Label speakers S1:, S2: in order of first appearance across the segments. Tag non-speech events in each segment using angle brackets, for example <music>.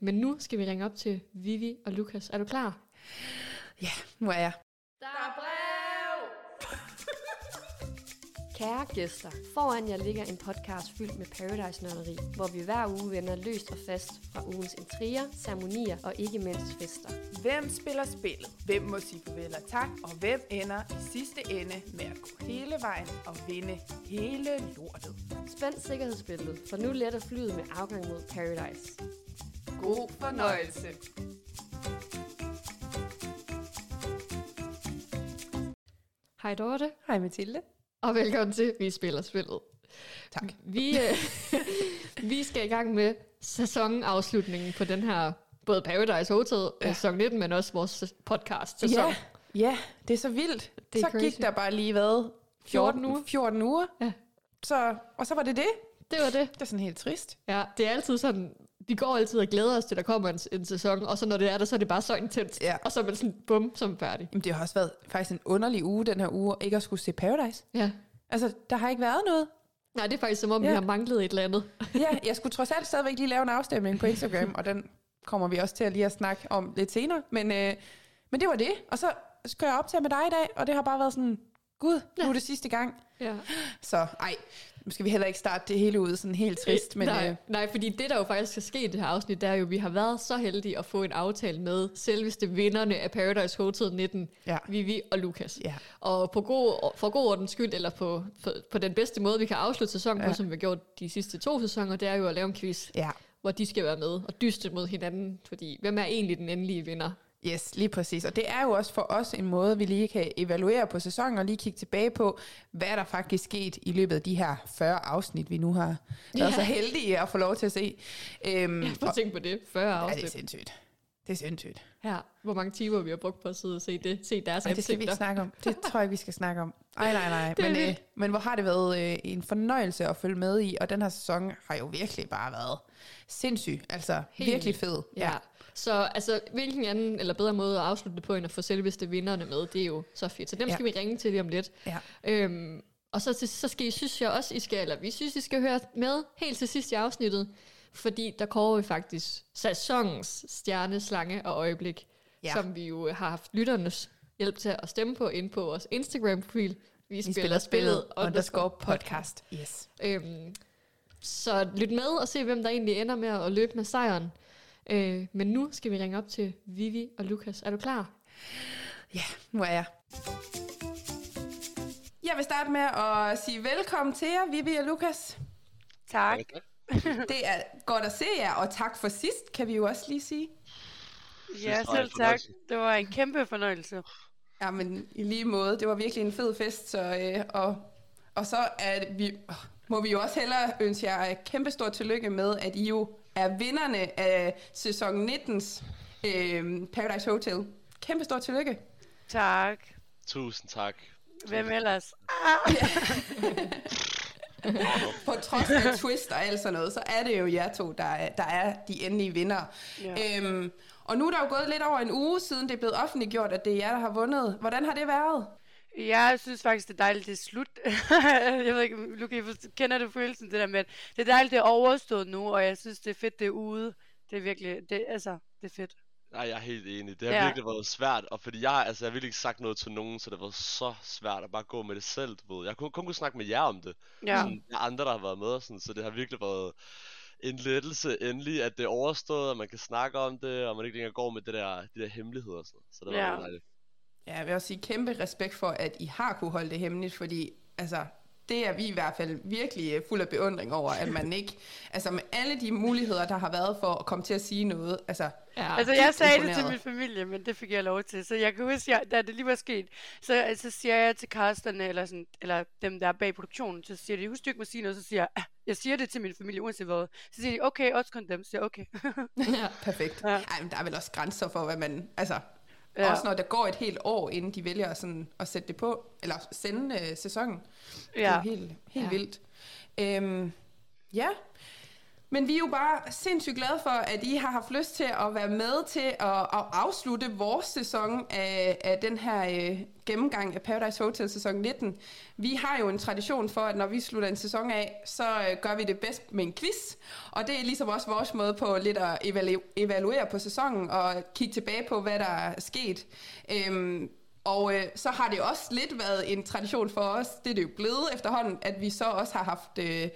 S1: Men nu skal vi ringe op til Vivi og Lukas. Er du klar?
S2: Ja, nu er jeg.
S1: <laughs> Kære gæster, foran jer ligger en podcast fyldt med paradise nørderi, hvor vi hver uge vender løst og fast fra ugens intriger, ceremonier og ikke mindst fester.
S3: Hvem spiller spillet? Hvem må sige farvel og tak? Og hvem ender i sidste ende med at gå hele vejen og vinde hele lortet?
S1: Spænd sikkerhedsbilledet, for nu letter flyet med afgang mod Paradise.
S3: God fornøjelse!
S1: Hej Dorte,
S2: Hej Mathilde.
S1: og velkommen til Vi Spiller Spillet.
S2: Tak.
S1: Vi, øh, <laughs> vi skal i gang med sæsonafslutningen på den her, både Paradise Hotel ja. sæson 19, men også vores podcast sæson.
S2: Ja, ja, det er så vildt.
S1: Det
S2: Det
S1: er
S2: så
S1: crazy.
S2: gik der bare lige hvad?
S1: 14 uger.
S2: 14 uger.
S1: Ja.
S2: Så, og så var det det.
S1: Det var det.
S2: Det er sådan helt trist.
S1: Ja, det er altid sådan, vi går altid og glæder os til, der kommer en, en sæson, og så når det er der, så er det bare så intenst.
S2: Ja.
S1: Og så er man sådan, bum, så er man færdig.
S2: Jamen, det har også været faktisk en underlig uge den her uge, ikke at skulle se Paradise.
S1: Ja.
S2: Altså, der har ikke været noget.
S1: Nej, det er faktisk som om, ja.
S2: Ja.
S1: vi har manglet et eller andet.
S2: Ja, jeg skulle trods alt stadigvæk lige lave en afstemning på Instagram, og den kommer vi også til at lige at snakke om lidt senere. Men, øh, men det var det. Og så skal jeg optage med dig i dag, og det har bare været sådan, gud, nu er det sidste gang.
S1: Ja.
S2: Så ej, nu skal vi heller ikke starte det hele ud sådan helt trist, men
S1: nej,
S2: øh,
S1: nej, fordi det, der jo faktisk skal ske i det her afsnit, det er jo, at vi har været så heldige at få en aftale med selveste vinderne af Paradise Hotel 19,
S2: Ja.
S1: Vivi og Lukas.
S2: Ja.
S1: Og på god, for god ordens skyld, eller på, på, på den bedste måde, vi kan afslutte sæsonen ja. på,
S2: Ja.
S1: som vi har gjort de sidste to sæsoner, det er jo at lave en quiz,
S2: ja,
S1: hvor de skal være med og dyste mod hinanden, fordi hvem er egentlig den endelige vinder?
S2: yes, lige præcis. Og det er jo også for os en måde, vi lige kan evaluere på sæsonen og lige kigge tilbage på, hvad der faktisk skete i løbet af de her 40 afsnit, vi nu har været
S1: Ja.
S2: ja. så heldige at få lov til at se. Øhm, ja,
S1: Prøv at tænke på det. 40
S2: ja, det er
S1: afsnit.
S2: sindssygt. Det er sindssygt.
S1: Her. Hvor mange timer vi har brugt på at sidde og se, det, se deres
S2: Ej, det skal vi ikke
S1: ansigter.
S2: snakke om. Det tror jeg ikke, vi skal snakke <laughs> om. Ej, nej, nej.
S1: Det er
S2: Men, øh,
S1: vildt.
S2: men hvor har det været øh, en fornøjelse at følge med i, og den her sæson har jo virkelig bare været sindssyg. Altså,
S1: Helt
S2: Helt. virkelig
S1: vildt.
S2: fed.
S1: Ja. Så altså, hvilken anden eller bedre måde at afslutte det på, end at få selveste vinderne med, det er jo så fedt. Så dem
S2: Ja.
S1: skal vi ringe til lige om lidt.
S2: ja.
S1: Øhm, og så, til- så skal I, synes jeg også, I skal, eller vi synes, I skal høre med helt til sidst i afsnittet, fordi der kommer vi faktisk sæsonens stjerne, slange og øjeblik, ja.
S2: Ja.
S1: som vi jo har haft lytternes hjælp til at stemme på ind på vores Instagram-profil. Vi
S2: Vi spiller spillet underscore
S1: podcast.
S2: podcast. Yes.
S1: Øhm, så lyt med og se, hvem der egentlig ender med at løbe med sejren. Øh, men nu skal vi ringe op til Vivi og Lukas. Er du klar?
S2: Ja, nu er jeg. Jeg vil starte med at sige velkommen til jer, Vivi og <laughs> Lukas.
S3: Tak.
S2: Det er godt at se jer, og tak for sidst, kan vi jo også lige sige.
S4: Ja,
S5: var en
S4: selv tak.
S5: fornøjelse.
S4: Det var en kæmpe fornøjelse.
S2: Jamen, i lige måde. Det var virkelig en fed fest, så, øh, og, og så er vi, må vi jo også hellere ønske jer kæmpe stort tillykke med, at I jo er vinderne af sæson 19's øh, Paradise Hotel. Kæmpe stort tillykke.
S4: Tak.
S5: Tusind tak.
S4: Hvem ellers?
S2: På trods af twist og alt sådan noget, så er det jo jer to, der er, der er de endelige vinder.
S4: Ja.
S2: Ja. Øhm, og nu er der jo gået lidt over en uge siden, det er blevet offentliggjort, at det er jer, der har vundet. Hvordan har det været?
S4: Jeg synes faktisk, det er dejligt, det er slut. <laughs> jeg ved ikke, om- Luca, I for- kender du følelsen, det der med, at det er dejligt, det er overstået nu, og jeg synes, det er fedt, det er ude. Det er virkelig, det, altså, det er fedt.
S5: Nej, jeg er helt enig. Det har
S4: Ja.
S5: ja. virkelig været svært, og fordi jeg, altså, jeg har virkelig ikke sagt noget til nogen, så det har været så svært at bare gå med det selv, du ved. Jeg kun, kun kunne snakke med jer om det.
S4: Ja,
S5: Sådan, der er andre, der har været med, og sådan, så det har virkelig været en lettelse endelig, at det er overstået, og man kan snakke om det, og man ikke længere går med det der, de der hemmeligheder og sådan noget. Så det var
S4: Ja.
S5: ja. dejligt.
S2: Ja, jeg vil også sige kæmpe respekt for, at I har kunne holde det hemmeligt, fordi altså, det er vi i hvert fald virkelig øh, fuld af beundring over, at man ikke, altså med alle de muligheder, der har været for at komme til at sige noget, altså,
S1: Ja.
S4: Altså, jeg sagde det til
S2: imponeret.
S4: min familie, men det fik jeg lov til. Så jeg kan huske, jeg, da det lige var sket, så, så siger jeg til casterne, eller, sådan, eller dem, der er bag produktionen, så siger de, husk du ikke må sige noget, så siger jeg, "Ah, jeg siger det til min familie, uanset hvad. Så siger de, okay, også kun dem, så siger jeg, okay. <laughs>
S1: Ja.
S2: perfekt.
S4: Ja.
S2: Ja. Ej, men der er vel også grænser for, hvad man, altså,
S4: Ja.
S2: ja. også når der går et helt år, inden de vælger sådan at sætte det på, eller sende øh, sæsonen. Det er
S4: ja.
S2: jo helt, helt
S1: Ja.
S2: ja. vildt. Øhm, ja, Men vi er jo bare sindssygt glade for, at I har haft lyst til at være med til at, at afslutte vores sæson af, af den her øh, gennemgang af Paradise Hotel sæson 19. Vi har jo en tradition for, at når vi slutter en sæson af, så øh, gør vi det bedst med en quiz. Og det er ligesom også vores måde på lidt at evalu- evaluere på sæsonen og kigge tilbage på, hvad der er sket. Øhm, og øh, så har det også lidt været en tradition for os, det er det jo blevet efterhånden, at vi så også har haft øh,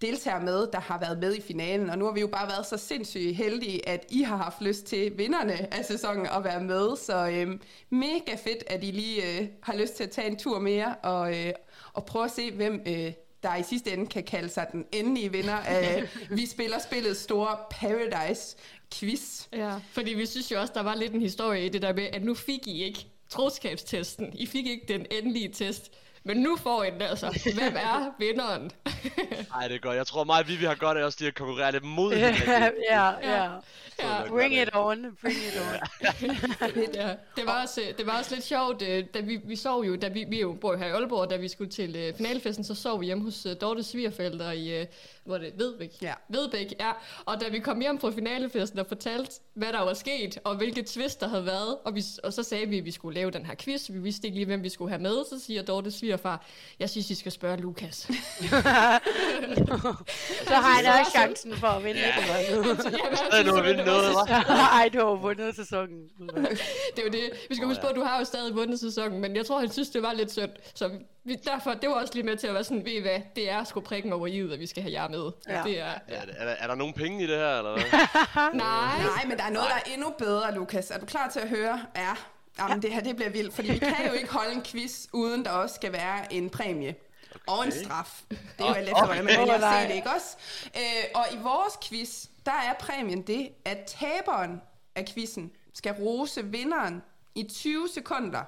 S2: deltagere med, der har været med i finalen. Og nu har vi jo bare været så sindssygt heldige, at I har haft lyst til vinderne af sæsonen at være med. Så øh, mega fedt, at I lige øh, har lyst til at tage en tur mere og, øh, og prøve at se, hvem øh, der i sidste ende kan kalde sig den endelige vinder af Vi Spiller Spillets store Paradise-quiz.
S1: Ja. Fordi vi synes jo også, der var lidt en historie i det der med, at nu fik I ikke troskabstesten. I fik ikke den endelige test. Men nu får I den altså. Hvem er vinderen?
S5: Ej, det er godt. Jeg tror mig og Vivi har godt af også lige at konkurrere lidt
S4: <laughs>
S5: mod
S4: ja,
S5: hinanden.
S4: ja.
S1: <laughs> Ja.
S4: Bring it on, bring it on.
S1: Ja, det var også, øh, det var også lidt sjovt, øh, da vi, vi sov jo, da vi, vi jo bor her i Aalborg, da vi skulle til øh, finalefesten, så sov vi hjemme hos øh, Dortes svigerforældre i, øh, hvor er det, Vedbæk?
S2: Ja.
S1: Vedbæk, ja. Og da vi kom hjem fra finalefesten og fortalte, hvad der var sket, og hvilke twist der havde været, og, vi, og så sagde vi, at vi skulle lave den her quiz, vi vidste ikke lige, hvem vi skulle have med, så siger Dortes svigerfar, jeg synes, I skal spørge Lukas. <laughs>
S4: Så har han også chancen for at vinde lidt eller noget.
S1: Så, ja, hvad
S5: Der er noget at vinde noget, hva'?
S4: Ej, du har jo vundet sæsonen.
S1: <laughs> Det er jo det. Vi skal
S5: Åh,
S1: huske på,
S5: ja.
S1: at du har jo stadig vundet sæsonen, men jeg tror, han synes, det var lidt synd. Så vi, derfor, det var også lige med til at være sådan, ved I hvad, det er sgu prikken over i, at vi skal have jer med.
S4: Ja.
S1: Det er...
S5: Ja, er, der- er, der, er der nogen penge i det her,
S4: <laughs>
S5: eller hvad?
S1: Nej.
S2: Nej, men der er noget, der er endnu bedre, Lukas. Er du klar til at høre? Ja. Jamen, det her det bliver vildt, fordi vi kan jo ikke holde en quiz, uden der også skal være en præmie. Okay. Og en straf. Det er jo alt efter, hvordan man
S4: Okay.
S2: vælger at se det, ikke også? Øh, og i vores quiz, der er præmien det, at taberen af quizzen skal rose vinderen i 20 sekunder.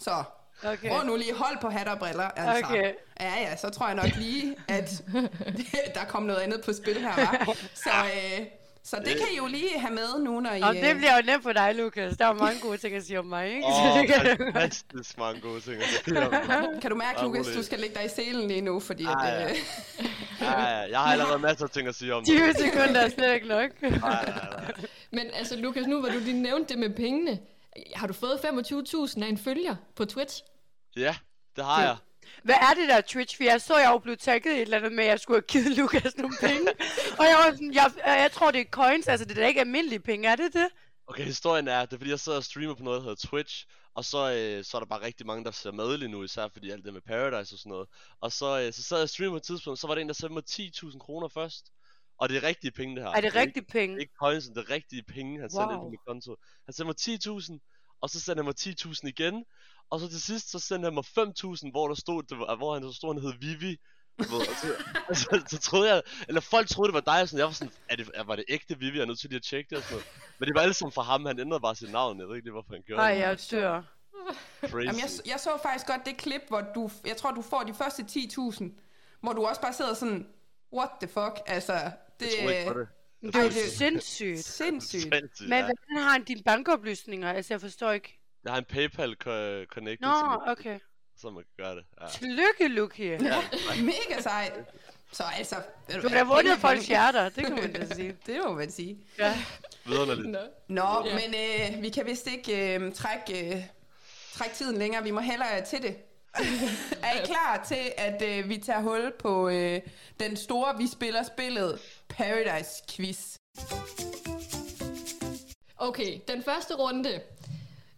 S2: Så,
S4: Okay.
S2: prøv nu lige hold på hat og briller, altså.
S4: Okay.
S2: Ja, ja, så tror jeg nok lige, at <laughs> der kom noget andet på spil her, var. Så, øh, så det kan I jo lige have med nu, når I...
S4: Og det
S2: øh,
S4: bliver jo nemt for dig, Lukas. Der er jo mange gode ting at sige om mig, ikke? Så
S5: Åh,
S4: det kan du-
S5: fantastisk mange gode ting. at sige om mig.
S2: Kan du mærke,
S5: Ah,
S2: Lukas,
S5: rolig.
S2: du skal lægge dig i selen lige nu, fordi...
S5: Ah,
S2: at,
S5: ja.
S2: øh,
S5: Ja, ja, jeg har allerede masser af ting at sige om det.
S4: 20 sekunder er slet ikke nok.
S5: Nej, nej, nej.
S1: Men altså, Lukas, nu hvor du lige nævnte det med pengene, har du fået 25.000 af en følger på Twitch?
S5: Ja, det har jeg.
S4: Hvad er det der Twitch? For jeg så, jeg jo blev tagget i et eller andet med, at jeg skulle have givet Lukas nogle penge. Og jeg var sådan, jeg, jeg tror, det er coins. Altså, det er da ikke almindelige penge, er det det?
S5: Okay, historien er, det er fordi, jeg sidder og streamer på noget, der hedder Twitch, og så, øh, så er der bare rigtig mange, der ser med lige nu, især fordi alt det med Paradise og sådan noget. Og så, øh, så sad jeg og streamer på et tidspunkt, så var der en, der sendte mig 10.000 kroner først. Og det er rigtige penge, det her.
S4: Er det
S5: ikke-
S4: rigtige penge?
S5: Det er ikke coinsen, det er rigtige penge, han sendte ind på
S4: Wow.
S5: min konto. Han sendte mig 10.000, og så sendte han mig 10.000 igen. Og så til sidst, så sendte han mig 5.000, hvor der stod, det var, hvor han så stod, han hed Vivi. Du ved, og så, <laughs> og så, så, troede jeg, eller folk troede, det var dig, og sådan, jeg var sådan, er det, er- var det ægte Vivi, jeg er nødt til lige at tjekke det og sådan noget. Men det var alle sammen fra ham, han ændrede bare sit navn, jeg ved ikke lige, hvorfor han gjorde
S4: Nej,
S5: det.
S4: jeg dør.
S5: Crazy.
S2: jamen, jeg, så- jeg så faktisk godt det klip, hvor du... Jeg tror, du får de første 10.000, hvor du også bare sidder sådan... What the fuck? Altså, det,
S5: jeg tror ikke på det.
S4: Men øh, Det er jo
S2: Ej, det-
S4: sindssygt.
S2: sindssygt.
S5: Sindssygt,
S4: Men
S5: ja.
S4: hvordan har han dine bankoplysninger? Altså, jeg forstår ikke.
S5: Jeg har en PayPal co- connected
S4: Nå,
S5: til min-
S4: okay.
S5: så man kan gøre det. Ja.
S4: Tillykke, Luki.
S2: Mega sejt. Så altså...
S4: Du har da
S5: <laughs>
S4: vundet folks hjerter, det kan man
S2: <laughs>
S4: da sige.
S2: Det må man sige.
S4: Ja.
S5: Vidunderligt.
S1: Nå.
S2: Nå, ja. men øh, vi kan vist ikke øh, trække, øh, trække tiden længere. Vi må hellere øh,
S1: <laughs>
S2: til det. er I klar til, at øh, vi tager hul på øh, den store, vi spiller spillet, Paradise Quiz?
S1: Okay, den første runde.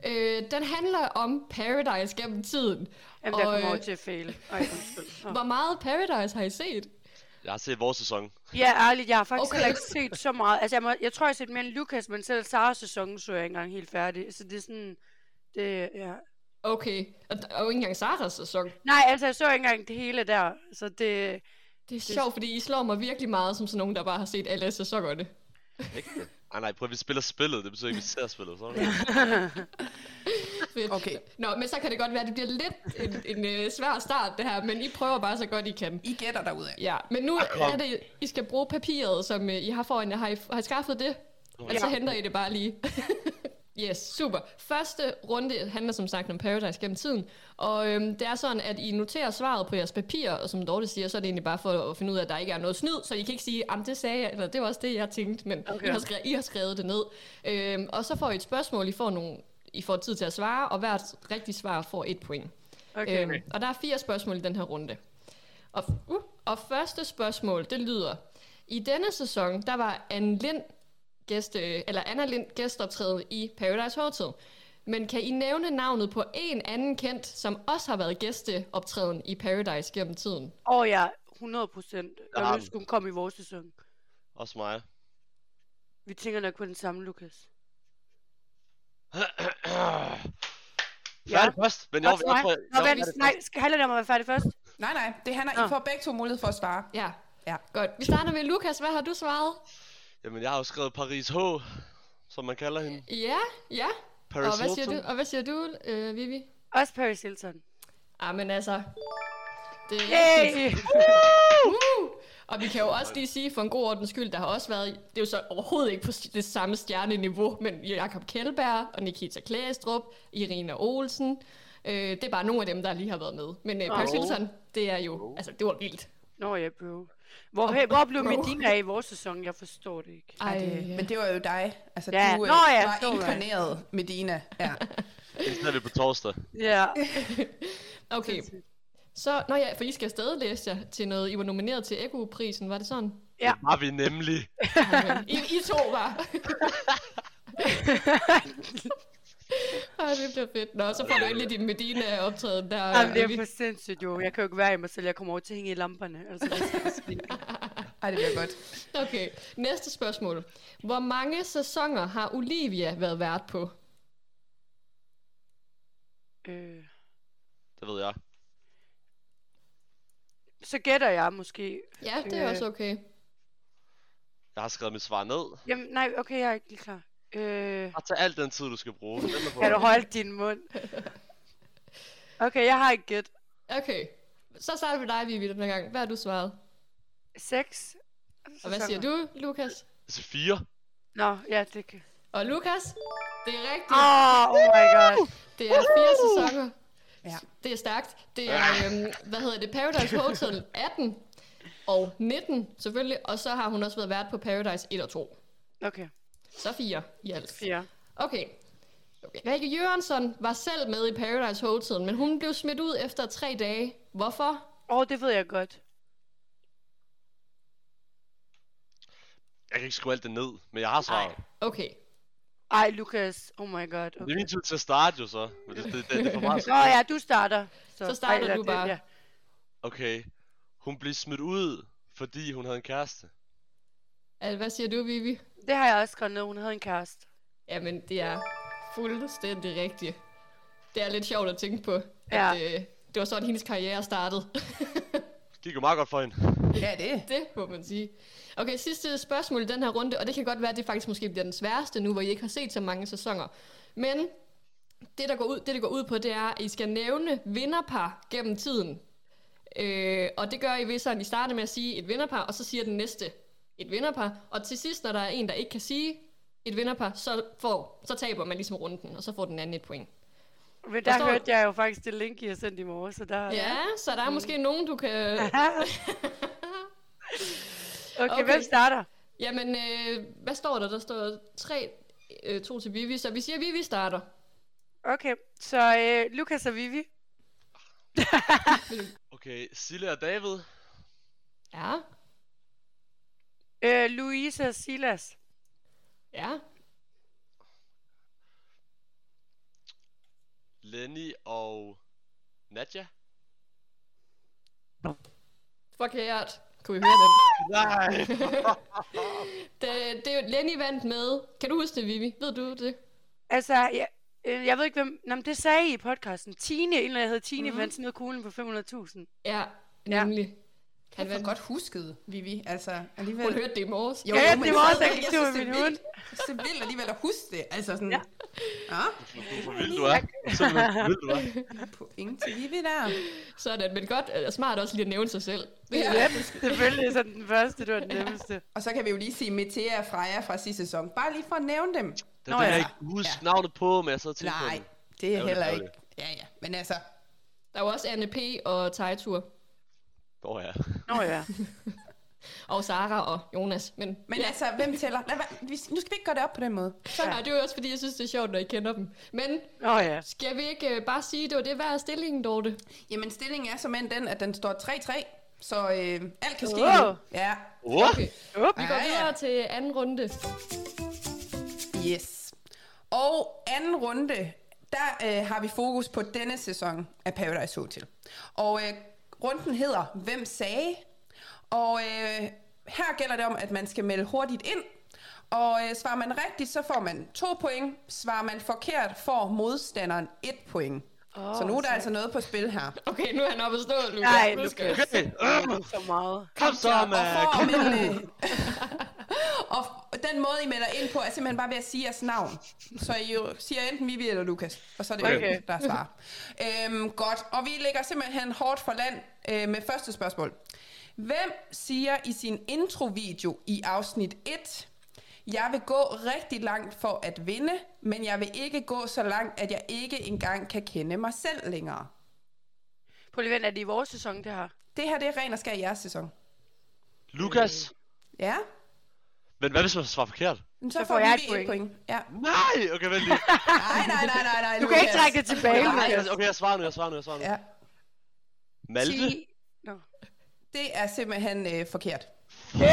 S1: Øh, den handler om Paradise gennem tiden.
S4: Jamen, der
S1: Og,
S4: kommer
S1: øh,
S4: over til at fejle. Ej, undskyld. Nå.
S1: Hvor meget Paradise har I set?
S5: Jeg har set vores sæson.
S4: Ja, ærligt, jeg har faktisk
S1: Okay.
S4: okay. heller ikke set så meget. Altså, jeg, må, jeg tror, jeg har set mere end Lukas, men selv Saras sæson så jeg ikke engang helt færdig. Så det er sådan... Det, ja.
S1: Okay, og, og ikke engang Saras sæson.
S4: Nej, altså, jeg så ikke engang det hele der. Så det...
S1: Det er sjovt, fordi I slår mig virkelig meget som sådan nogen, der bare har set alle sæsonerne.
S5: Ægte? Ej nej, prøv at vi spiller spillet, det betyder ikke, at vi ser spillet, så er det
S1: Fedt.
S2: Okay.
S1: Nå, men så kan det godt være, at det bliver lidt en, en øh, svær start, det her, men I prøver bare så godt, I kan.
S2: I gætter derudad.
S1: Ja, men nu
S5: kom.
S1: er det, I skal bruge papiret, som øh, I har foran jer. Har I, har I skaffet det? Altså,
S4: Ja.
S1: henter I det bare lige. <laughs> Yes, super. Første runde handler som sagt om Paradise gennem tiden, og øhm, det er sådan, at I noterer svaret på jeres papir, og som Dorte siger, så er det egentlig bare for at finde ud af, at der ikke er noget snyd, så I kan ikke sige, at det sagde jeg, eller det var også det, <laughs> jeg tænkte, men okay. I, har skrevet, I har skrevet det ned. Øhm, og så får I et spørgsmål, I får, nogle, I får tid til at svare, og hvert rigtigt svar får et point.
S4: Okay.
S1: Øhm, og der er fire spørgsmål i den her runde. Og, uh, og første spørgsmål, det lyder, i denne sæson, der var Anne Lind gæst, øh, eller Anna Lind gæstoptræden i Paradise Hotel. Men kan I nævne navnet på en anden kendt, som også har været gæsteoptræden i Paradise gennem tiden?
S4: Åh oh, ja, 100 procent. Jeg ville
S5: har den.
S4: ønske, hun kom i vores sæson.
S5: Også mig.
S4: Vi tænker nok på den samme, Lukas.
S5: Færdig først, men jeg, jeg,
S4: Godt,
S5: jeg,
S4: nej.
S5: tror, jeg,
S4: Nå,
S5: jeg,
S4: vent, nej, skal handle det om at være færdig først?
S2: Nej, nej, det handler, I
S4: Nå.
S2: får begge to mulighed for at svare.
S1: Ja.
S2: Ja.
S1: Godt. Vi starter med Lukas. Hvad har du svaret?
S5: jamen, jeg har jo skrevet Paris H, som man kalder hende.
S1: Ja, ja.
S5: Paris
S1: og hvad siger
S5: Hilton.
S1: du, og hvad siger du øh, Vivi?
S4: Også Paris Hilton.
S1: Ah, men altså... Det er rigtigt.
S4: Yay!
S1: Uh! Og vi kan jo også lige sige, for en god ordens skyld, der har også været, det er jo så overhovedet ikke på det samme stjerneniveau, men Jakob Kjellberg og Nikita Klæstrup, Irina Olsen, øh, det er bare nogle af dem, der lige har været med. Men øh, Paris
S4: Åh.
S1: Hilton, det er jo, altså det var vildt.
S4: Nå ja, bro. Hvor, hey, hvor blev
S1: Bro.
S4: Medina af i vores sæson? Jeg forstår det
S1: Ah.
S4: ikke.
S2: Ej,
S1: øh,
S2: det, men det var jo dig. Altså,
S4: Ja.
S2: du øh,
S4: Nå ja,
S2: var
S4: så var jeg.
S2: inkarneret med Dina.
S1: <laughs>
S2: Ja.
S5: Det ser vi på torsdag.
S4: Ja.
S1: Okay, så, nå ja, for I skal afsted, læste jeg, til noget, I var nomineret til Ego-prisen, var det sådan?
S4: Ja.
S5: Det var vi nemlig.
S1: Okay. I, I to var. Ej, det bliver fedt. Nå, så får du endelig din Medina-optræden der.
S4: Jamen, det
S1: Vivi.
S4: er for sindssygt jo. Jeg kan jo ikke være i mig selv. Jeg kommer over til at hænge i lamperne. Altså, det
S2: <laughs>
S4: er så vildt.
S2: Ej, det bliver godt.
S1: Okay, næste spørgsmål. Hvor mange sæsoner har Olivia været vært på?
S4: øh,
S5: Det ved jeg.
S4: så gætter jeg måske.
S1: Ja, det er
S4: Øh.
S1: også okay.
S5: Jeg har skrevet mit svar ned.
S4: Jamen, nej, okay, jeg er ikke lige klar. Øh,
S5: Bare tag al den tid, du skal bruge. Den er på.
S4: kan du holde din mund? Okay, jeg har et gæt.
S1: Okay, så starter vi dig, Vivi, den her gang. Hvad har du svaret?
S4: Seks.
S1: Og hvad siger du, Lukas?
S5: Altså fire.
S4: Nå, ja, det kan.
S1: Og Lukas, det er rigtigt.
S4: Åh, oh, my god.
S1: Det er fire sæsoner.
S2: Ja.
S1: Det er stærkt. Det er, øhm, hvad hedder det, Paradise Hotel 18 og 19, selvfølgelig. Og så har hun også været vært på Paradise 1 og 2.
S4: Okay,
S1: Så fire i alt.
S4: fire.
S1: Okay. okay. Rikke Jørgensen var selv med i Paradise Hotel, men hun blev smidt ud efter tre dage. Hvorfor?
S4: Åh, oh, det ved jeg godt.
S5: Jeg kan ikke skrive alt det ned, men jeg har svaret.
S1: Okay.
S4: Ej, Lukas. Oh my god.
S5: Det er
S4: Okay.
S5: min tur til at starte jo så. Men det, det, det, det er for meget.
S4: Nå ja, du starter.
S1: Så starter
S4: eller
S1: du
S4: det-
S1: bare.
S4: Ja.
S5: Okay. Hun blev smidt ud, fordi hun havde en kæreste.
S1: Al- Hvad siger du, Vivi?
S4: Det har jeg også skrevet ned. Hun havde en kæreste.
S1: Jamen, det er fuldstændig rigtigt. Det er lidt sjovt at tænke på,
S4: Ja.
S1: at øh, det var sådan, hendes karriere startede.
S5: Det gik jo meget godt for hende.
S2: Ja, det.
S1: det må man sige. Okay, sidste spørgsmål i den her runde, og det kan godt være, at det faktisk måske bliver den sværeste nu, hvor I ikke har set så mange sæsoner. Men det, der går ud, det, det går ud på, det er, at I skal nævne vinderpar gennem tiden. Øh, og det gør I ved sådan, I starter med at sige et vinderpar, og så siger den næste et vinderpar. Og til sidst, når der er en, der ikke kan sige et vinderpar, så, får, så taber man ligesom runden, og så får den anden et point.
S4: Men der
S1: Forstår du?
S4: hørte jeg jo faktisk det link, I har sendt i morges, så der...
S1: Ja, så der er måske nogen, du kan...
S4: Okay,
S1: Okay.
S4: okay, hvem starter?
S1: Jamen, øh, hvad står der? Der står 3, øh, 2 til Vivi, så vi siger, at Vivi starter.
S4: Okay, så øh, Lukas og Vivi.
S5: Okay, Sille og David.
S1: Ja,
S4: Øh, Louise og Silas.
S1: ja,
S5: Lenny og Nadja.
S1: forkert. Kunne I høre den?
S5: Nej.
S1: <laughs> Det, det er jo Lenny vandt med. Kan du huske det, Vivi? Ved du det?
S4: Altså, jeg, øh, jeg ved ikke, hvem... Nå, men det sagde I i podcasten. Tine, en eller anden, der hed Tine, mm-hmm. vandt sådan noget kuglen på 500.000.
S1: Ja,
S4: Ja.
S1: nemlig.
S2: Han
S1: Han vandt.
S2: var godt husket, Vivi. Altså, alligevel.
S1: Hun hørte det i morges.
S2: Jo,
S4: Ja, ja,
S2: men
S4: det var også,
S2: stadigvæk,
S4: jeg gik
S2: jeg
S4: tur
S2: synes,
S4: med
S2: det er
S4: min hund.
S2: vildt- Så vildt alligevel at huske det. Altså sådan, ja.
S4: Ja.
S2: ja
S5: Hvor vild du er. Simpelthen, hvor vild du er.
S2: point til Vivi der.
S1: Sådan, men godt øh, smart også lige at nævne sig selv. Det,
S2: Ja.
S1: ja.
S4: Ja, selvfølgelig. Så den første, det var den nemmeste.
S2: Og så kan vi jo lige sige Metea og Freja fra sidste sæson. Bare lige for at nævne dem.
S5: Den,
S4: Nå
S5: Nå, den
S4: ja.
S5: ja. jeg ikke huske ja. navnet på, men jeg sad og tænkte på
S2: Nej,
S5: den.
S2: det er
S5: Ærgerligt,
S2: heller ikke.
S5: ærgerligt.
S2: Ja, ja. Men altså,
S1: Der var også Anne P. og Tejtur.
S5: Nå ja.
S4: Nå ja.
S1: Og Sara og Jonas. Men,
S2: men altså, hvem tæller? Lad, være- vi, nu skal vi ikke gøre det op på den måde.
S1: så ja. det er jo også, fordi jeg synes, det er sjovt, når I kender dem. Men
S4: Nå ja.
S1: skal vi ikke øh, bare sige, det var det hver af stillingen, Dorte?
S2: Jamen, stillingen er som end den, at den står 3-3. Så øh, alt kan ske.
S4: Wow.
S2: nu. Ja,
S5: What?
S1: Okay.
S4: Up.
S1: Vi går
S2: Ja, ja.
S1: videre til anden runde.
S2: yes. Og anden runde, der øh, har vi fokus på denne sæson af Paradise Hotel. Og øh, runden hedder Hvem sagde? Og øh, her gælder det om, at man skal melde hurtigt ind. Og øh, svarer man rigtigt, så får man to point. Svarer man forkert, får modstanderen et point. Oh, så nu er der altså noget på spil her.
S1: Okay, nu er han oppe at stå, Lukas.
S4: Nej,
S1: Nu skal-
S4: Lukas.
S5: Okay. øh,
S4: Så meget.
S5: Kom så,
S2: og
S5: mand.
S2: for
S5: Kom
S2: at
S5: nu.
S2: melde, øh, <laughs> og f- den måde, I melder ind på, er simpelthen bare ved at sige jeres navn. Så I jo siger enten Vivi eller Lukas, og så er det
S4: Okay.
S2: okay. der svarer. Øhm, godt, og vi ligger simpelthen hårdt for land øh, med første spørgsmål. Hvem siger i sin introvideo i afsnit 1, jeg vil gå rigtig langt for at vinde, men jeg vil ikke gå så langt, at jeg ikke engang kan kende mig selv længere.
S4: Prøv lige at vente, er det i vores sæson, det her?
S2: Det her, det er ren og skær jeres sæson.
S5: Lukas.
S2: Ja?
S5: Men hvad hvis man svarer forkert?
S2: Men Så,
S4: Så
S2: så
S4: får
S2: får,
S4: jeg
S2: Vivi
S4: et point.
S2: et point. Ja.
S5: Nej! Okay, vent lige.
S2: Nej, nej, nej, nej, nej.
S4: Du kan ikke trække det tilbage,
S5: Nej,
S4: Lukas.
S5: altså, okay, jeg svarer nu, jeg svarer nu, jeg svarer nu.
S2: Ja,
S5: Malte?
S4: Ti- Nå.
S2: det er simpelthen øh, forkert.
S4: Hey!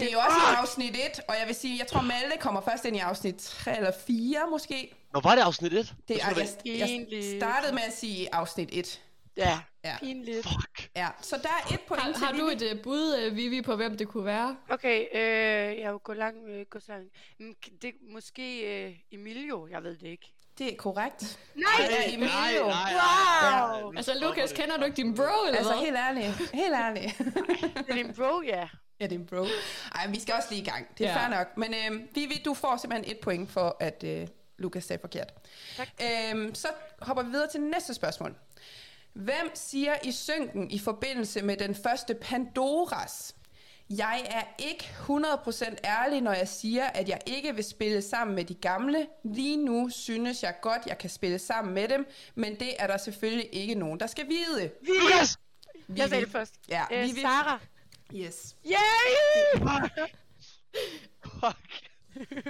S2: Det er jo også i afsnit 1, og jeg vil sige, jeg tror Malte kommer først ind i afsnit 3 eller 4 måske.
S5: Nå, var det afsnit 1?
S2: Det er, jeg, jeg
S4: Egentlig.
S2: startede med at sige afsnit 1.
S4: Ja,
S2: Ja.
S4: pinligt.
S5: Fuck.
S2: Ja, så der er et point
S1: Har,
S2: til
S1: har du
S2: Vivi.
S1: et øh, bud, øh, Vivi, på hvem det kunne være?
S4: Okay, øh, jeg vil gå langt, øh, gå så langt. Mm, k- Det, måske øh, Emilio, jeg ved det ikke.
S2: Det er korrekt.
S4: Nej!
S2: Det er Emilio.
S5: nej.
S4: Wow!
S1: Altså, Lukas, kender du ikke din bro, eller
S2: Altså,
S1: hvad?
S2: helt ærligt. Helt ærligt.
S4: Det er din bro, ja.
S2: ja, det er en bro. Ej, men vi skal også lige i gang. Det er
S1: Ja.
S2: ja. fair nok. Men øh, Vivi, du får simpelthen et point for, at øh, Lukas sagde forkert.
S4: Tak.
S2: Øhm, så hopper vi videre til næste spørgsmål. Hvem siger i synken i forbindelse med den første Pandoras? Jeg er ikke 100% ærlig, når jeg siger, at jeg ikke vil spille sammen med de gamle. Lige nu synes jeg godt, jeg kan spille sammen med dem, men det er der selvfølgelig ikke nogen, der skal vide.
S5: Lukas!
S4: Jeg sagde det først.
S2: Ja,
S4: Øh,
S2: Vivi.
S4: Sara.
S2: Yes.
S4: Yay!
S5: Fuck.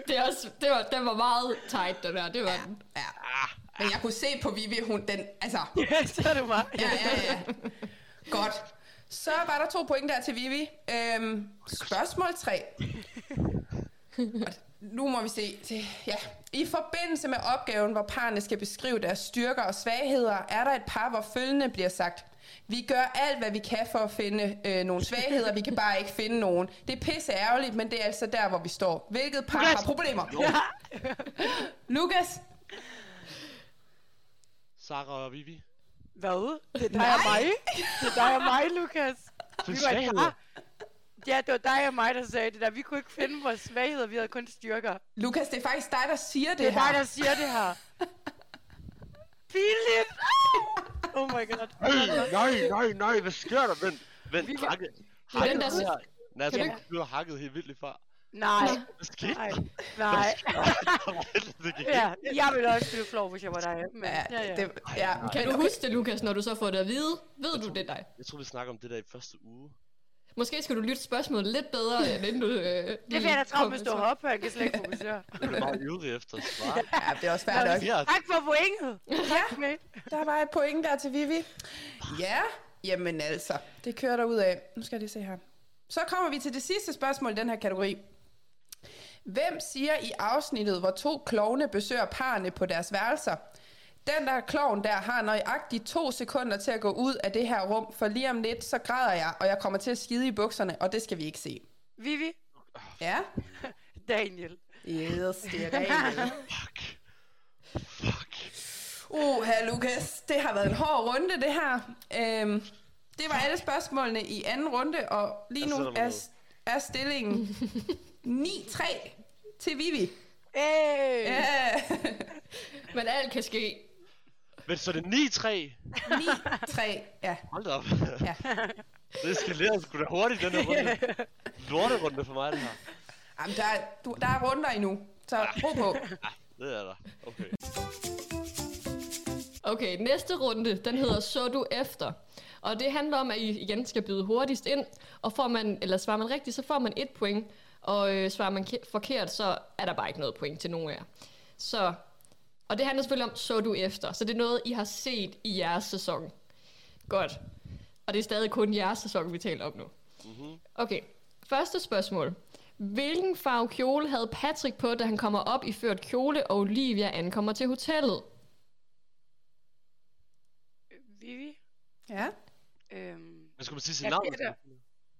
S1: Det er også, det var, den var meget tight, den der. Det var den.
S2: Ja. Men jeg kunne se på Vivi, hun den... Altså,
S4: Ah, Ja, <laughs> så er det mig.
S2: ja, ja, ja. Godt. Så var der to point der til Vivi. Øhm, spørgsmål 3. Nu må vi se. til- Ja. I forbindelse med opgaven, hvor parerne skal beskrive deres styrker og svagheder, er der et par, hvor følgende bliver sagt. Vi gør alt, hvad vi kan for at finde øh, nogle svagheder. Vi kan bare ikke finde nogen. Det er pisse ærgerligt, men det er altså der, hvor vi står. Hvilket par har problemer? Lukas?
S5: Sara og Vivi.
S4: <laughs> Hvad? Det er dig og mig. Det er dig og mig, Lukas.
S5: For
S4: Vi var et
S5: svaghed.
S4: par. Ja, det var dig og mig, der sagde det der. Vi kunne ikke finde vores svagheder, vi havde kun styrker.
S2: Lukas, det er faktisk dig, der siger det,
S4: Det er
S2: her.
S4: dig, der siger det her. Pinligt! Oh my god.
S5: Øh, nej, nej, nej, hvad sker der? Vent, vent,
S4: Vi kan-
S5: hakke.
S1: er
S5: Hakke
S1: den, der
S5: der
S1: synes-
S5: Nej, jeg
S1: Kan
S5: tror,
S1: du
S5: du blev hakket helt vildt lige før.
S4: Nej,
S5: Hvad skete
S4: nej,
S5: der?
S4: nej.
S5: Det gik
S4: Ja, jeg ville også blive flov, hvis jeg var dig. Men,
S2: Ja,
S4: ja, ja.
S2: Det, ja.
S1: Kan du huske det, Lukas, når du så får det at vide? Ved du det, dig?
S5: Jeg tror, vi snakker om det der i første uge.
S1: Måske skal du lytte spørgsmålet lidt bedre, end inden du... Øh,
S4: Det
S1: lige
S4: bliver da travlt
S1: kom
S4: med at
S1: med
S4: stå
S1: svar.
S4: heroppe, han kan slet ikke fokusere.
S5: Jeg blev meget ivrig efter at svare.
S2: Ja, det er også færdigt nok.
S5: <laughs> Ja,
S4: Tak for pointet!
S2: Ja,
S4: Okay.
S2: der var et point der til Vivi. Ja, jamen altså, det kører der ud af. Nu skal jeg lige se her. Så kommer vi til det sidste spørgsmål i den her kategori. Hvem siger i afsnittet, hvor to klovne besøger parerne på deres værelser? Den der klovn der har nøjagtigt to sekunder til at gå ud af det her rum, for lige om lidt, så græder jeg, og jeg kommer til at skide i bukserne, og det skal vi ikke se.
S4: Vivi,
S2: Ja?
S4: Daniel.
S2: Yes, det er rent.
S5: fuck. Fuck.
S2: Uh, herr Lukas, det har været en hård runde, det her. Øhm, det var alle spørgsmålene i anden runde, og lige
S5: Jeg
S2: nu
S5: sætter mig
S2: er, er stillingen 9-3 til Vivi. <laughs>
S4: Hey!
S2: Ja,
S1: Men alt kan ske.
S5: Men så er det 9-3.
S2: 9-3, ja.
S5: Hold da op.
S2: Ja.
S5: <laughs> Det eskalerede sgu da hurtigt, den her runde. Lorterunde for mig, det her.
S2: Jamen, der, er- du, der er runder endnu, Så ro på.
S5: Det er der. Okay.
S1: Okay, næste runde, den hedder Så du efter. Og det handler om, at I igen skal byde hurtigst ind, og får man, eller svarer man rigtigt, så får man et point, og øh, svarer man ke- forkert, så er der bare ikke noget point til nogen af jer. Så, og det handler selvfølgelig om, så du efter. Så det er noget, I har set i jeres sæson. Godt. Og det er stadig kun jeres sæson, vi taler om nu. Okay, første spørgsmål. Hvilken farve kjole havde Patrick på, da han kommer op i ført kjole, og Olivia ankommer til hotellet?
S4: Øh, Vivi?
S2: Ja.
S4: Øhm,
S5: Men skulle man sige sit
S4: Jeg
S5: navn?
S4: gætter.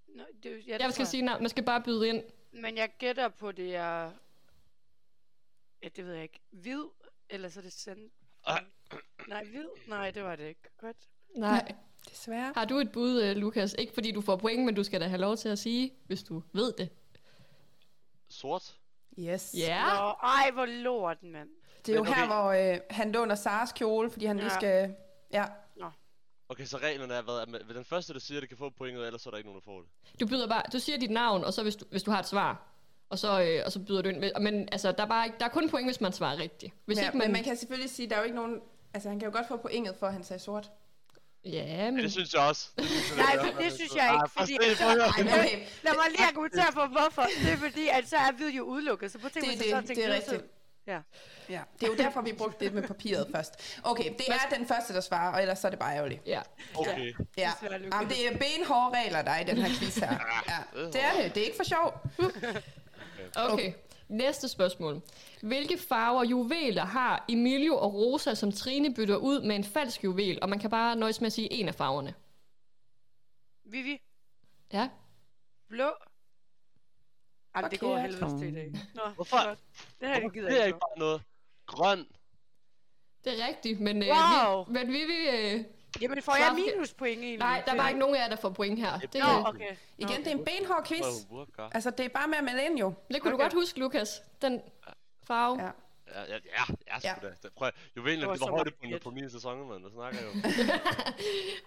S4: nå, det, ja, det
S1: Jeg
S4: tror
S1: skal sige, nej, man skal bare byde ind.
S4: Men jeg gætter på, det er... Ja, det ved jeg ikke. Hvid, eller så er det sand...
S5: Ah.
S4: Nej, hvid? Nej, det var det ikke. Godt.
S1: Nej.
S2: Desværre.
S1: <laughs> Har du et bud, øh, Lukas? Ikke fordi du får point, men du skal da have lov til at sige, hvis du ved det.
S5: Sort?
S2: Yes.
S1: Ja.
S4: Nå, ej, hvor lort, mand.
S2: Det er jo
S5: Men okay.
S2: her, hvor øh, han låner Saras kjole, fordi han lige
S4: Ja.
S2: skal... Ja.
S5: Okay, så reglerne er, hvad, at man- den første, der siger, det kan få pointet, ellers er der ikke nogen, der får det.
S1: Du, byder bare, du siger dit navn, og så hvis du, hvis du har et svar. Og så, øh, og så byder du ind. med- Men altså, der er, bare ikke, der er kun point, hvis man svarer rigtigt. Hvis
S2: ja
S1: ikke man...
S2: Men man kan selvfølgelig sige, der er jo ikke nogen... Altså, han kan jo godt få pointet for, at han sagde sort.
S1: Ja,
S5: Ja,
S1: men...
S5: det synes jeg også. Det synes jeg,
S4: Nej,
S5: det er.
S4: men det synes jeg ikke,
S5: Ah,
S4: fordi...
S5: forstå, prøv at høre.
S2: Ej, men okay.
S4: Lad mig lige argumentere for, hvorfor. Det er fordi, at så er hvid jo udelukket, så på tænk,
S2: Det er
S4: hvis
S2: det.
S4: sådan tænker
S2: Det er
S4: hvid, så-
S2: rigtigt.
S4: Ja.
S2: Ja. Det er jo derfor, vi brugte det med papiret <laughs> først. Okay, det er den første, der svarer, og ellers er det bare ærgerligt.
S1: Ja.
S5: Okay.
S2: Ja.
S4: Desværre, Lukas.
S2: Jamen, det er benhårde regler, der er i den her quiz her. <laughs> Ja, det er det. Det er ikke for sjov.
S1: Okay. okay. Næste spørgsmål. Hvilke farver juveler har Emilio og Rosa, som Trine bytter ud med en falsk juvel? Og man kan bare nøjes med at sige en af farverne.
S4: Vivi,
S1: Ja.
S4: blå. Jamen, det går
S2: Forkert.
S4: helvedes til i dag. Nå,
S5: Hvorfor?
S4: godt. Det her, det gider
S5: Det er
S4: jeg
S5: ikke
S4: ikke.
S5: bare noget. Grøn.
S1: Det er rigtigt, men... Øh,
S4: Wow.
S1: vi, men vi vil... Øh,
S4: for. Jamen, får jeg
S1: Svar-
S4: minuspoint egentlig?
S1: nej, der er bare ikke nogen af jer, der får point her. Det,
S4: Nå,
S1: øh,
S4: okay.
S2: Igen, det er en benhård quiz.
S5: Prøv at worker.
S2: Altså, det er bare med at melde ind jo.
S1: Det kunne okay. du
S4: Okay.
S1: godt huske, Lukas. Den farve.
S2: Ja.
S1: Ja.
S5: Ja, ja, ja, ja, sgu da. Det- Prøv at juvelen,
S4: Det var
S5: det var
S4: så meget
S5: højdepunktet
S4: fedt.
S5: på min sæson, mand. Der snakker jeg
S4: <laughs>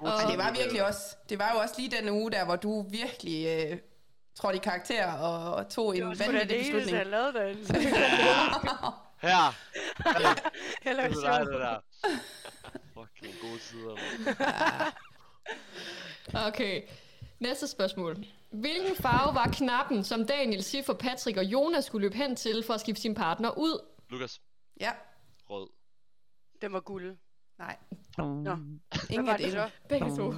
S5: jo.
S2: Og det var virkelig også, det var jo også lige den uge der, hvor du virkelig øh, trådte i karakter og, og tog en
S4: Det var sgu da
S2: vanvittig
S4: det eneste,
S2: beslutning.
S4: jeg lavede derinde. <laughs>
S5: Her.
S4: Jeg
S5: Det
S4: lavede
S5: er dig,
S4: sjov.
S5: det
S4: <laughs>
S5: der. Fucking gode tider, mand.
S1: Okay. Næste spørgsmål. Hvilken farve var knappen, som Daniel, Siffer, Patrick og Jonas skulle løbe hen til for at skifte sin partner ud?
S5: Lukas.
S2: Ja,
S5: Rød.
S4: Den var guld.
S2: nej.
S4: Nå, hvad
S2: Ingen
S4: var
S2: af
S4: det
S2: det.
S4: så?
S1: Begge to.